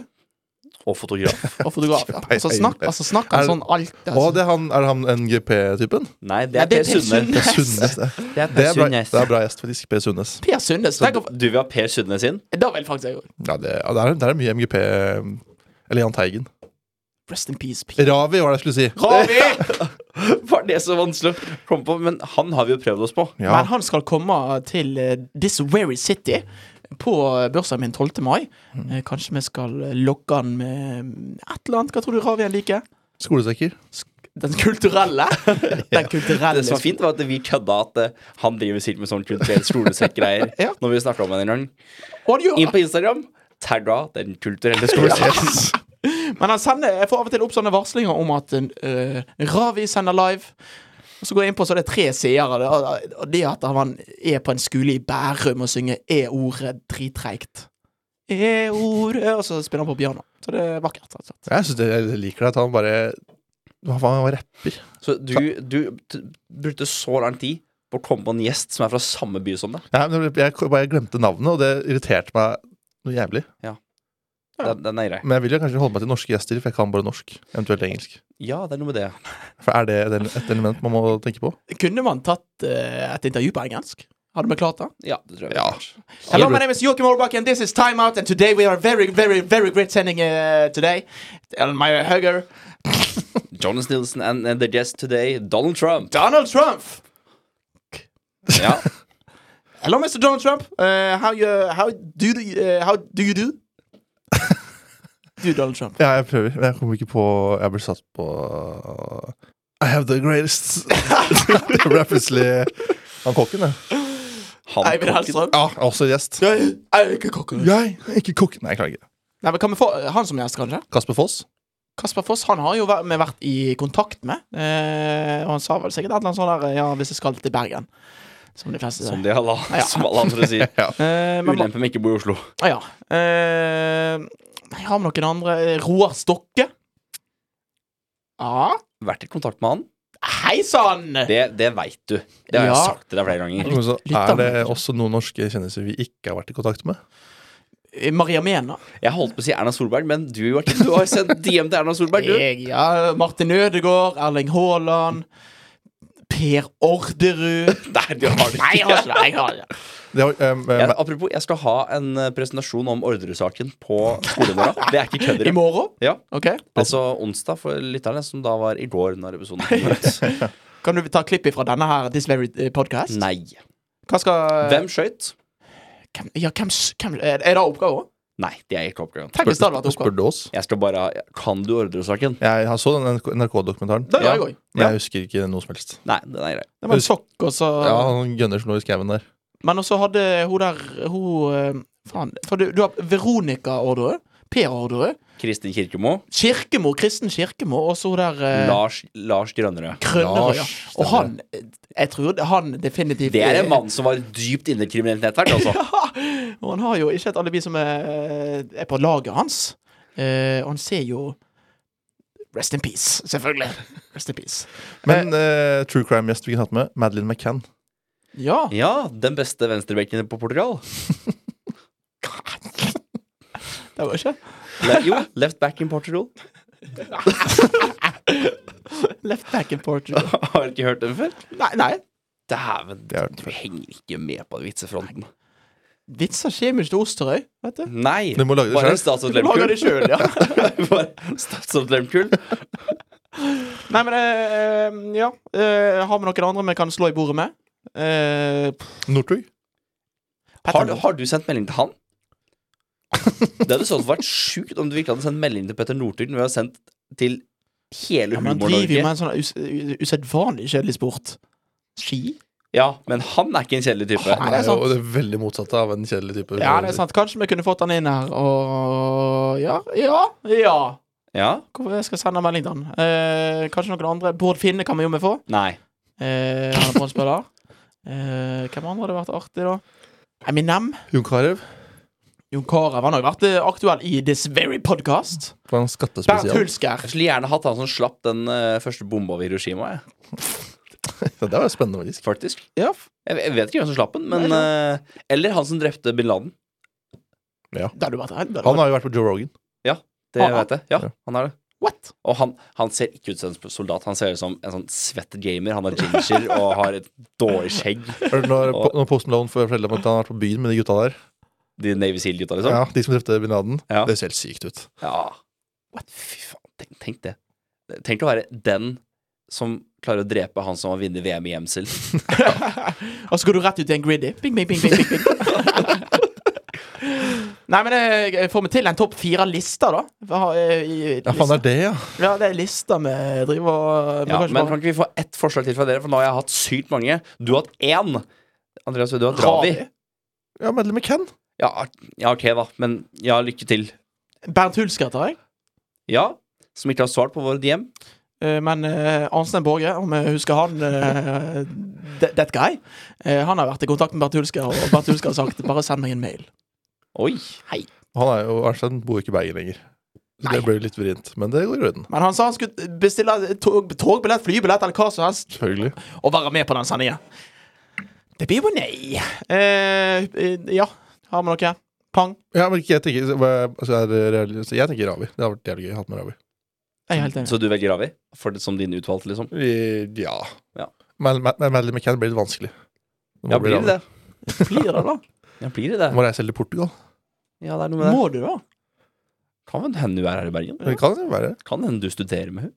S2: Og fotograf.
S1: Og fotograf. ja. Og så snakk- altså, snakker
S3: Er-
S1: han sånn alt.
S3: Og
S1: Altså.
S3: det er han, er han NGP-typen?
S2: Nei, det
S1: Nei,
S2: er Per Sundnes.
S1: Sundnes.
S3: Sundnes. Det,
S2: Det er
S3: det,
S2: Per
S3: er bra,
S2: Sundnes.
S3: det er bra gjest, faktisk. Per Sundnes.
S1: Per Sundnes.
S2: Så
S1: tenk om-
S2: du du vil ha Per Sundnes inn?
S1: Da vil faktisk jeg òg.
S3: Ja, det, ja, det, er, det er mye MGP eh, Eller Jahn Teigen.
S1: Rest in peace, Pete.
S3: Ravi var det jeg skulle si.
S1: Ravi!
S2: Var det så vanskelig å komme på? Men han har vi jo prøvd oss på.
S3: Ja.
S1: Men han skal komme til eh, This Very City på eh, bursdagen min 12. mai.
S3: Mm.
S1: Eh, Kanskje vi skal eh, lokke han med mm, et eller annet. Hva tror du Ravian liker?
S3: Skolesekker.
S1: Sk- Den kulturelle? Den kulturelle
S2: Det som var fint, var at vi kødda at eh, han driver sikkert med sånn kulturell skolesekk-greier.
S1: Ja.
S2: Når vi snakka om henne en gang.
S1: Og han gjør-
S2: Inn på Instagram. Tagga Den kulturelle skolesekken.
S1: Men han sender, jeg får av og til opp sånne varslinger om at eh, Ravi sender live. Og så går jeg inn på, så er det tre seere. det- og- Og det at han er på en skole i Bærum og synger E-ordet drittreigt. E-ordet Og så spiller han på piano. Så det er vakkert. rett og slett.
S3: Jeg, synes det, jeg liker det at han bare Hva faen, han var rapper.
S2: Så du, du t brukte så lang tid på å komme på en gjest som er fra samme by som deg.
S3: Nei, men jeg, jeg bare glemte navnet, og det irriterte meg noe jævlig.
S2: Den, den er grei.
S3: Men jeg vil jo kanskje holde meg til norske gjester, for jeg kan bare norsk. Eventuelt engelsk.
S2: Ja, det er noe med det.
S3: For Er det et- et element man må tenke på?
S1: Kunne man tatt eh, et intervju på engelsk? Hadde vi klart det?
S2: Ja, det tror jeg.
S3: Ja.
S1: Hello, my name is Joachim Orbach, and this is Time Out, and today we are very, very, very great sending uh, today. And my hugger,
S2: Jonas Nilsen and, and the guest today, Donald Trump.
S1: Donald Trump.
S2: Ja.
S1: Hello, Mr. Donald Trump. Uh, how you? How do you? Uh, how do you do? do Donald Trump?
S3: Ja, jeg prøver, men jeg kommer ikke på Jeg blir satt på uh, I have the greatest Det ble plutselig han kokken, det.
S2: Han
S1: Eivind Hellstrøm.
S3: Ja, også gjest.
S1: Jeg er ikke kokken.
S3: Jeg er ikke kokken. Nei, jeg klarer ikke.
S1: Nei, men kan vi få eh, han som gjest, kanskje?
S3: Kasper Foss.
S1: Kasper Foss han har jo vært, vi vært i kontakt med. eh, og han sa vel sikkert et eller annet sånt der eh, Ja, hvis jeg skal til Bergen. Som de fleste
S2: Som
S1: sier.
S2: de alle,
S1: Ja.
S2: som alle andre sier.
S1: Eh, men-
S2: Ulempe med ikke å bo i Oslo.
S1: Ah, ja. Eh, jeg har med noen andre. Roar Stokke. Ja.
S2: Vært i kontakt med han.
S1: Hei sann!
S2: Det, det veit du. Det har jeg
S1: Ja.
S2: sagt til deg flere ganger.
S3: Men Så
S1: litt
S3: er
S1: av
S3: det
S1: det, kanskje.
S3: også noen norske kjendiser vi ikke har vært i kontakt med.
S1: Maria Mena.
S2: Jeg holdt på å si Erna Solberg, men du, Joakim, du har sendt DM til Erna Solberg, du.
S1: Jeg, ja. Martin Ødegaard. Erling Haaland. Per Orderud.
S2: Nei, du har det
S1: Nei, jeg
S2: ikke.
S1: har ikke det. Jeg har ikke det.
S3: Det var, eh, eh,
S2: Jeg, apropos, jeg skal ha en eh, presentasjon om Orderud-saken på skolen vår. Det er ikke kødd.
S1: I morgen?
S2: Ja,
S1: OK.
S2: altså onsdag for lytterne, som da var i går når episoden kom ut.
S1: Kan du ta klipp ifra denne her This Very eh, Podcast?
S2: Nei.
S1: Hva skal
S2: Hvem skøyt?
S1: Hvem, ja, hvem, s- hvem Er er det oppgaven?
S2: Nei, det er ikke oppgaven.
S1: Tenk hvis det hadde vært
S3: spør
S1: oppgave.
S3: du oss?
S2: Jeg skal bare ha- Kan du Orderud-saken?
S3: Jeg har så den NRK-dokumentaren,
S1: Det gjør
S2: Ja.
S1: jeg òg.
S3: men
S2: Ja.
S3: jeg husker ikke noe som helst.
S2: Nei, den er grei.
S1: Det var en sokk, og så
S3: Ja, han gønner som lå i skauen der.
S1: Men også hadde hun der Hun eh, Faen. For du, du har Veronica Orderud. Per Orderud.
S2: Kristin Kirkemo.
S1: Kirkemo. Kristen Kirkemo. Og så hun der eh,
S2: Lars, Lars Grønnerød.
S1: Krønnerød. Ja.
S3: Lars,
S1: Og han eh, Jeg tror han definitivt
S2: Det er
S1: eh,
S2: en mann som var dypt inne i et kriminelt nettverk, altså.
S1: Og han har jo ikke et alibi som er, eh, er på laget hans. Eh, og han ser jo Rest in peace, selvfølgelig. Rest in peace.
S3: Men eh, true crime-gjest vi kunne hatt med, Madeleine McCann.
S1: Ja.
S2: Ja, den beste venstrebekken på Portugal.
S1: Det var ikke
S2: Le jo, left back in Portugal.
S1: Left back in Portugal.
S2: Har ikke hørt den før?
S1: Nei, nei.
S2: Dæven,
S3: Det har jeg hørt
S2: du henger ikke med på vitsefronten.
S1: Vitser kjemisk til Osterøy, vet du.
S2: Nei!
S3: Du må lage det
S2: Bare en
S3: selv.
S2: statsråd
S1: Du lager det
S2: Lehmkuhl.
S1: sjøl, ja.
S2: Bare statsråd Lehmkuhl.
S1: Nei, men eh, Ja. Eh, har vi noen andre vi kan slå i bordet med? Eh,
S3: Northug.
S2: Har, har du sendt melding til han? Det hadde sånn vært sjukt om du virkelig hadde sendt melding til Petter Northug når vi har sendt til hele
S1: ja, men han driver jo
S2: Humor-Norge.
S1: med en sånn us- u- usedvanlig kjedelig sport. Ski?
S2: Ja, men han er ikke en kjedelig type.
S1: Nei, det er sant.
S3: jo det veldig motsatte av en kjedelig type.
S1: Ja, det er sant. Kanskje vi kunne fått han inn her og Ja. Ja. ja.
S2: Ja?
S1: Hvorfor jeg skal sende melding til han? Eh, kanskje noen andre? Bård Finne kan vi jo med få.
S2: Nei.
S1: Eh, han er frontspiller. Eh, hvem andre hadde vært artig, da? Eminem.
S3: Jon Carew
S1: Jon Carew. Han har jo vært eh, aktuell i This Very Podcast.
S3: var en
S1: Bernt
S3: skattespesial.
S1: Hulsker.
S2: Jeg skulle gjerne hatt han som slapp den eh, første bomba ved Hiroshima, jeg.
S3: Ja, det var spennende, faktisk.
S2: faktisk.
S1: Ja, f-
S2: Jeg, jeg vet ikke hvem som slapp den, men eh, Eller han som drepte bin Laden.
S1: det hadde vært det hadde
S3: Han
S1: vært-
S3: har jo vært på Joe Rogan.
S2: Det
S1: Ah,
S2: vet jeg. Ja,
S3: ja.
S2: han er det.
S1: What?
S2: Og han, han ser ikke ut som en soldat, han ser ut som en sånn svett gamer. Han har ginger og har et dårlig skjegg.
S3: Er det Når, po- når Post Malone får fortelle om at han har vært på byen med de gutta der
S2: De Navy Seal-gutta, liksom.
S3: Ja, De som drepte bin Laden.
S2: Ja.
S3: Det ser helt sykt ut.
S2: Ja. What? Fy faen, tenk, tenk det. Tenk å være den som klarer å drepe han som har vunnet VM i gjemsel.
S1: Og så går du rett ut i en griddy. Bing, bing, bing, bing, bing, bing. Nei, men jeg får vi til en topp fire-liste, da? Hva har, eh, i-
S3: Ja, faen, det er det, ja.
S1: Ja, det er lista vi driver og vi
S2: Ja,
S1: kan ikke
S2: men
S1: bare-
S2: kan ikke vi få ett forslag til fra dere, for nå har jeg hatt sykt mange. Du har hatt én. Andreas, du har Dravi.
S3: Ja, Madeleine McCann.
S2: Ja, ja, ok, da. Men ja, lykke til.
S1: Bernt Hulsker tar jeg.
S2: Ja, som ikke har svart på vår DM.
S1: Eh, Men eh, Arnstein Borge, om jeg husker han eh, de- That guy. eh, han har vært i kontakt med Bernt Hulsker, og Bernt Hulsker har sagt 'bare send meg en mail'.
S2: Oi.
S3: Han er jo, Arnstein bor ikke i Bergen lenger. Så det ble jo litt vrient, men det går i orden.
S1: Men han sa han skulle bestille tog, togbillett, flybillett eller hva som helst,
S3: Selvfølgelig.
S1: og være med på den sendingen. Det blir jo nei. Eh, eh, ja, har vi noe? Pang.
S3: Ja, men ikke- jeg tenker, altså, er det real- så jeg tenker Ravi. Det hadde vært jævlig gøy å ha med Ravi.
S1: Jeg er helt enig.
S2: Så du velger Ravi for det, som din utvalgte, liksom?
S3: Eh, Ja.
S2: Ja.
S3: Men Ma- Ma- Madeleine McCann blir litt vanskelig. Det må
S2: Ja,
S3: bli
S2: blir
S3: Ravi.
S2: det det?
S1: Blir det da?
S2: Ja, blir det det?
S3: Må reise helt til Portugal.
S2: Ja, det er noe med det.
S1: Må du, da?
S2: Kan vel hende du er her i Bergen.
S3: Det kan jo være.
S2: Kan hende du studerer med henne.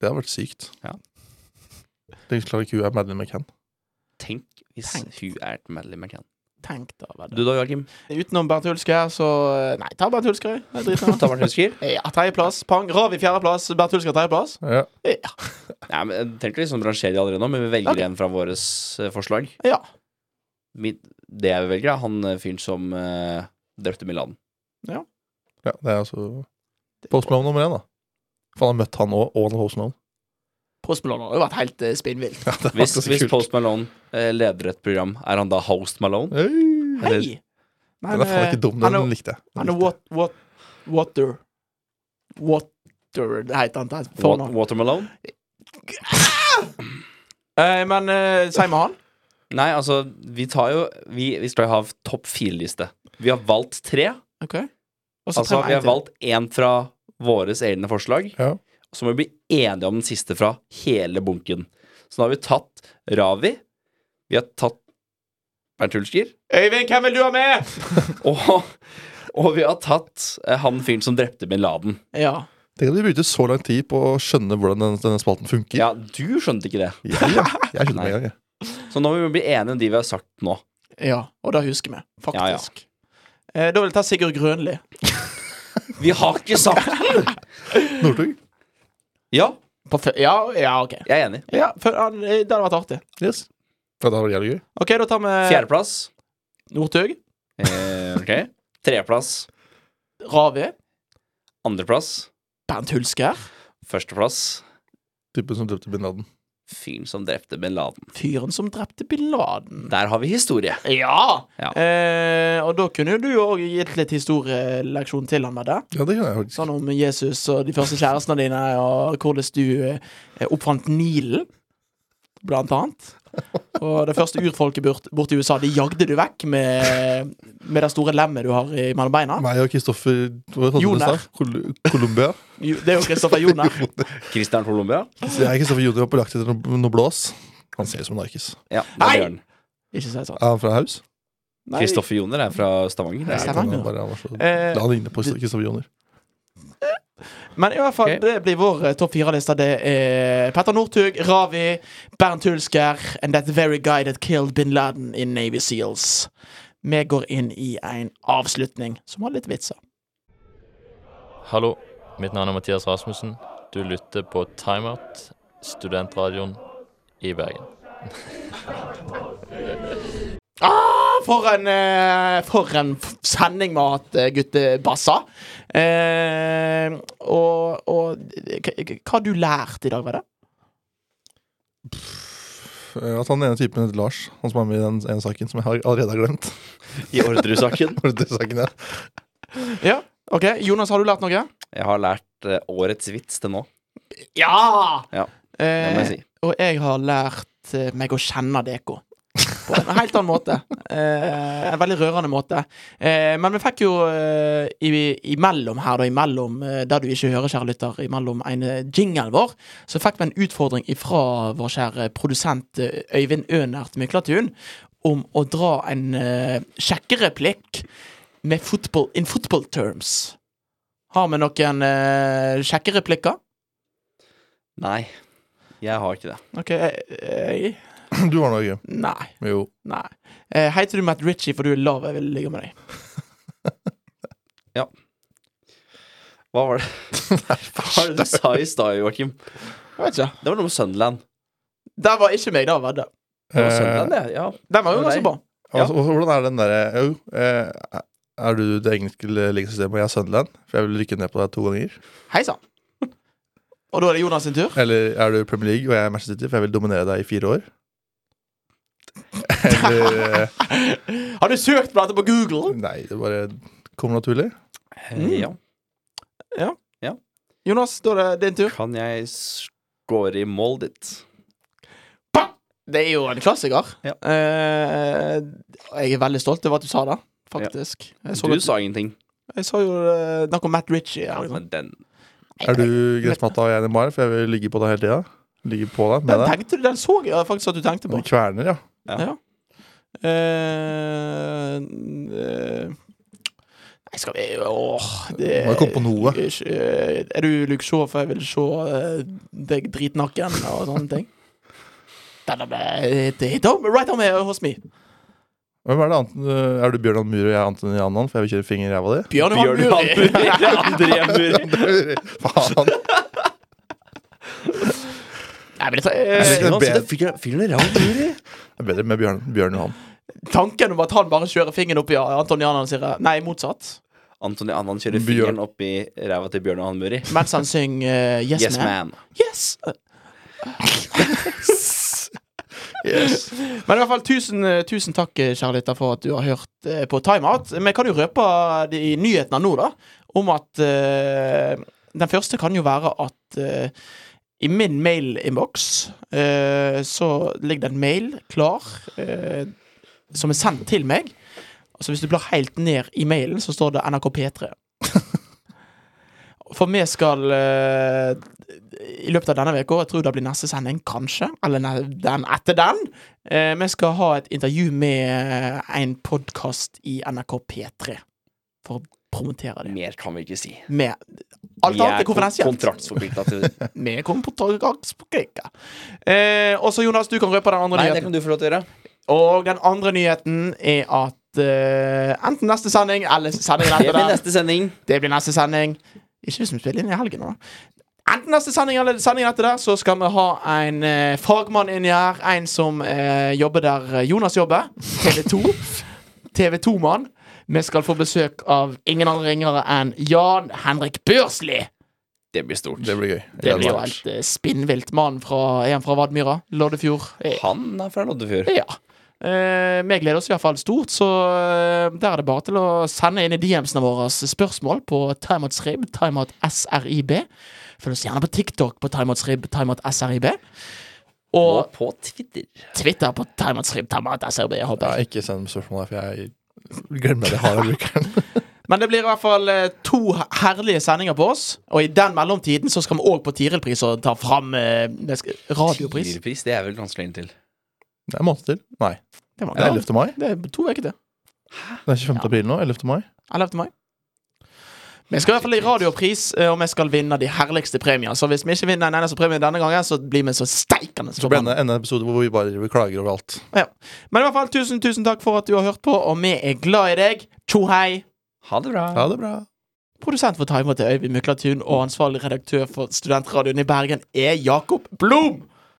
S3: Det hadde vært sykt.
S2: Ja.
S3: Tenk så klarer ikke hun er Madeleine McCann.
S2: Tenk hvis
S1: Tenk.
S2: hun er et medlem av Ken.
S1: Tenk da, hva det
S2: Du da, Joakim?
S1: Utenom Bernt Hulsker, så eh, Nei, ta Bernt Hulsker. jeg. Jeg driter i
S2: Ta
S1: han.
S2: Martin Husker.
S1: Ja, Tredjeplass. Pang. Ravi fjerdeplass. Bernt Hulsker tredjeplass.
S3: Ja.
S1: Ja.
S2: Nei, men jeg tenker liksom rangere de allerede nå, men vi velger
S1: Ok.
S2: en fra våre forslag.
S1: ja.
S2: Mitt- det jeg velger, er han eh, fyren som eh, drepte Milan.
S3: ja, det er altså Post Malone nummer én, da. For han har møtt han òg, og han er Post Malone.
S1: Post Malone har jo vært helt eh, spinnvilt.
S3: Ja, det er
S2: Hvis,
S3: ganske
S2: hvis
S3: kult.
S2: Post Malone eh, leder et program, er han da Host Malone?
S3: Hei.
S1: Hei!
S2: Eller-
S1: Nei, eh,
S3: Den er faen ikke
S2: eh,
S3: dum,
S1: han
S3: den,
S1: er-
S3: den likte jeg. Den
S1: Han er
S3: likte jeg.
S1: what, what, Water Water Det heter han der.
S2: Wa-
S1: fornavn.
S2: Water Malone?
S1: Eh, men eh, si med han.
S2: Nei, altså, vi tar jo Vi, vi skal jo ha topp fire-liste. Vi har valgt tre.
S1: OK? Og
S2: Altså,
S1: tar
S2: vi
S1: en
S2: har
S1: til.
S2: valgt én fra våres egne forslag.
S3: Ja.
S2: Så må vi bli enige om den siste fra hele bunken. Så nå har vi tatt Ravi. Vi har tatt Bernt Hulsker.
S1: Øyvind, hvem vil du ha med?
S2: Og, og vi har tatt eh, han fyren som drepte bin Laden.
S1: Ja.
S3: Tenk at vi brukte så lang tid på å skjønne hvordan denne, denne spalten funker.
S2: Ja, du skjønte ikke det.
S3: Ja, ja. Jeg skjønner med en gang, jeg.
S2: Så nå må vi bli enige om de vi har sagt nå.
S1: ja. Og det husker vi, faktisk. Eh, da vil jeg ta Sigurd Grønli.
S2: Vi har ikke sagt den!
S3: Northug?
S2: Ja,
S1: På fø- ja, ja, OK.
S2: jeg er enig.
S1: Ja, for, han, eh, det hadde vært artig.
S3: Yes. Ja, det hadde vært jævlig gøy.
S1: OK, da tar vi
S2: Fjerdeplass.
S1: Northug.
S2: Eh, ok. Tredjeplass.
S1: Ravi.
S2: Andreplass.
S1: Bernt Hulsker.
S2: Førsteplass.
S3: Typen som drepte bin Laden.
S2: Fyren som drepte bin Laden.
S1: Fyren som drepte bin Laden.
S2: Der har vi historie.
S1: Ja!
S2: Ja.
S1: Eh, og da kunne jo du òg gitt litt historieleksjon til han med det.
S3: Ja, det kan jeg faktisk.
S1: Sånn om Jesus og de første kjærestene dine, og hvordan du eh, oppfant Nilen, blant annet. Og det første urfolket bort, borte i USA, de jagde du vekk med, med det store lemmet du har i- mellom beina.
S3: Meg og Kristoffer hva kalte du det i
S1: Joner.
S3: stad? Kol- Colombia.
S1: Jo, Det er jo Kristoffer Joner.
S2: Christian Colombia.
S3: Så jeg og Kristoffer Joner var på jakt etter noe, noe blås. Han ser ut som en narkis.
S2: Ja, det
S1: Hei!
S2: gjør han.
S1: Ikke si sånn.
S3: Er han fra Haus?
S1: Nei,
S2: Kristoffer Joner er fra Stavanger.
S1: Nei,
S2: Det er-
S1: Stavanger.
S3: Han, bare, han, var så,
S1: Eh,
S3: han ligner på Kristoffer Joner.
S1: Men i hvert fall,
S2: Ok.
S1: det blir vår eh, topp fire-liste. Det er Petter Northug, Ravi, Bernt Hulsker and that very guy that killed bin Laden in Navy Seals. Vi går inn i en avslutning som har litt vitser.
S5: Hallo, mitt navn er Mathias Rasmussen. Du lytter på Timeout, studentradioen i Bergen.
S1: Ah, for en, eh, for en f- sending vi har hatt, eh, guttebassa. Eh, og og k- k- hva har du lært i dag, var det?
S3: Eh, At han ene typen heter Lars, han som er med i den ene saken som jeg har allerede har glemt.
S2: I Orderud-saken.
S3: Den saken der.
S1: Ja, ok, Jonas, har du lært noe?
S2: Jeg har lært eh, årets vits til nå.
S1: Ja!
S2: Ja, Det må
S1: eh,
S2: jeg si.
S1: og jeg har lært eh, meg å kjenne Deko. På en helt annen måte. Eh, en veldig rørende måte. Eh, men vi fikk jo eh, i, imellom her, da, imellom eh, der du ikke hører, kjære lytter, imellom en eh, jingle vår, så fikk vi en utfordring ifra vår kjære produsent eh, Øyvind Ønert Myklatun om å dra en eh, sjekkereplikk med football, in football terms. Har vi noen eh, sjekkereplikker?
S2: Nei, jeg har ikke det.
S1: OK, jeg, jeg
S3: Du var noe gøy.
S1: Nei.
S3: Jo.
S1: Nei. Eh, heter du Matt Ritchie, for du er lav, jeg vil ligge med deg.
S2: Hva var det Hva var det du sa i stad, Joakim?
S1: Jeg vet ikke.
S2: Det var noe med Sunderland.
S1: Der var ikke meg, da. Var det.
S2: Det var
S3: Eh,
S2: Sunderland, det. Ja.
S1: Den var
S2: Det
S1: jo
S2: var
S1: ganske
S2: deg.
S1: bra.
S2: Ja.
S3: altså, hvordan er den derre Jo, eh, er du det engelske legesystemet, og jeg er Sunderland? For jeg vil rykke ned på deg to ganger.
S1: Hei sann. Og da er det Jonas sin tur.
S3: Eller er du Premier League, og jeg er Manchester City, for jeg vil dominere deg i fire år? Eller eh,
S1: Har du søkt på dette på Google?
S3: Nei, det bare kommer naturlig.
S1: Mm.
S2: ja.
S1: Jonas, da er det din tur.
S2: Kan jeg score i målet ditt?
S1: Det er jo en klassiker.
S2: Ja.
S1: Eh, jeg er veldig stolt over at du sa det, faktisk. Jeg, så
S2: Du
S1: at,
S2: sa ingenting.
S1: jeg sa jo eh, noe om Matt Ritchie.
S2: Ja,
S1: eller noe
S2: men
S1: sånt.
S2: den
S3: Er du gressmatta og jeg er Neymar, for jeg vil ligge på deg hele tida? Ligge på deg med
S1: Den
S3: deg?
S1: tenkte du, den så jeg faktisk at du tenkte på.
S3: Du kverner, ja.
S1: Eh, eh, Nei, skal vi Åh, det
S3: Må jo komme på noe.
S1: Eh, Er du Luke Shaw, for jeg vil se eh, deg dritnakken og sånne ting? Den er ble- det- don't- Right on here hos me.
S3: Hvem er det Anton, Er du Bjørn Mur og jeg er Antony Annan, for jeg vil kjøre finger i ræva di?
S1: Bjørn Johan
S2: Bjørn
S1: Muri.
S2: André Muri.
S3: Faen!
S1: Nei, men det tar- eh,
S3: det er
S2: Fyren er ræva Muri.
S3: Det er bedre med Bjørn, Bjørn Johan.
S1: Tanken om at han bare kjører fingeren opp i Antonianerne sier eh, Nei, motsatt.
S2: Antony Annan kjører
S3: Bjørn.
S2: fingeren opp i ræva til Bjørn og han Muri.
S1: Mens han synger eh, Yes,
S2: Yes,
S1: man.
S2: man.
S1: Yes! Men i hvert fall tusen, eh, tusen takk, kjære lytter, for at du har hørt eh, på Timeout. Vi kan jo røpe det i nyhetene nå, da, om at eh, Den første kan jo være at eh, i min mail-innboks eh, så ligger det en mail klar eh, som er sendt til meg. Altså Hvis du blar helt ned i mailen, så står det NRK P3. For vi skal eh, i løpet av denne uka, jeg tror det blir neste sending, kanskje, eller ne- den etter den, eh, vi skal ha et intervju med eh, en podkast i NRK P3 for å promotere det.
S2: Mer kan vi ikke si.
S1: Med Alt
S2: Vi
S1: annet er
S2: kon-
S1: konfidensielt.
S2: kontraktsforpliktet til det.
S1: Vi kommer på togaksbrekka. Eh, og så, Jonas, du kan røpe den andre
S2: Nei, det
S1: nyheten.
S2: kan du få lov til å gjøre.
S1: Og den andre nyheten er at eh, enten neste sending eller sendingen
S2: Det
S1: etter
S2: blir
S1: den
S2: neste sending.
S1: det blir neste sending. Ikke hvis vi spiller inn i helgen nå. Enten neste sending eller sendingen etter der, så skal vi ha en eh, fagmann inni her. En som eh, jobber der eh, Jonas jobber. TV 2. TV 2-mann. Vi skal få besøk av ingen andre ringere enn Jan Henrik Børsli.
S2: Det blir stort.
S3: Det blir gøy.
S1: Det
S3: Jeg
S1: blir jo
S3: gleder meg.
S1: helt eh, spinnvilt. Mannen fra, er han fra Vadmyra? Loddefjord? Eh,
S2: Han er fra Loddefjord.
S1: Ja. Eh, vi gleder oss iallfall stort, så eh, der er det bare til å sende inn i DMs-ene våre spørsmål på timeoutsrib, timeoutsrib. Følg oss gjerne på TikTok på timeoutsrib, timeoutsrib.
S2: Og
S1: Og
S2: på Twitter.
S1: Twitter på timeoutsrib, timeoutsrib, håper
S3: Ja,
S1: jeg.
S3: ikke send spørsmål der, for jeg glemmer at jeg har den brukeren.
S1: Men det blir i hvert fall eh, to herlige sendinger på oss. Og i den mellomtiden så skal vi òg på Tiril-pris og ta fram eh, det skal- radiopris.
S2: Tidligpris, det er vel ganske lenge til.
S3: Det er en måned til. Nei,
S1: Det, var,
S3: det er 11. mai.
S1: det er to uker til.
S3: Det er 25. april nå. 11. mai.
S1: 11. mai. Vi skal i hvert fall i radiopris, eh, og vi skal vinne de herligste premiene. Så hvis vi ikke vinner en eneste premie denne gangen, så blir vi så steikende
S3: Så blir det
S1: forbanna.
S3: en episode hvor vi bare klager over alt.
S1: Ja. Men i hvert fall tusen, tusen takk for at du har hørt på, og vi er glad i deg. Tjo hei!
S2: Ha det bra.
S3: Ha det bra.
S1: Produsent for Timer til Øyvind Myklatun og ansvarlig redaktør for Studentradioen i Bergen er Jakob Blom!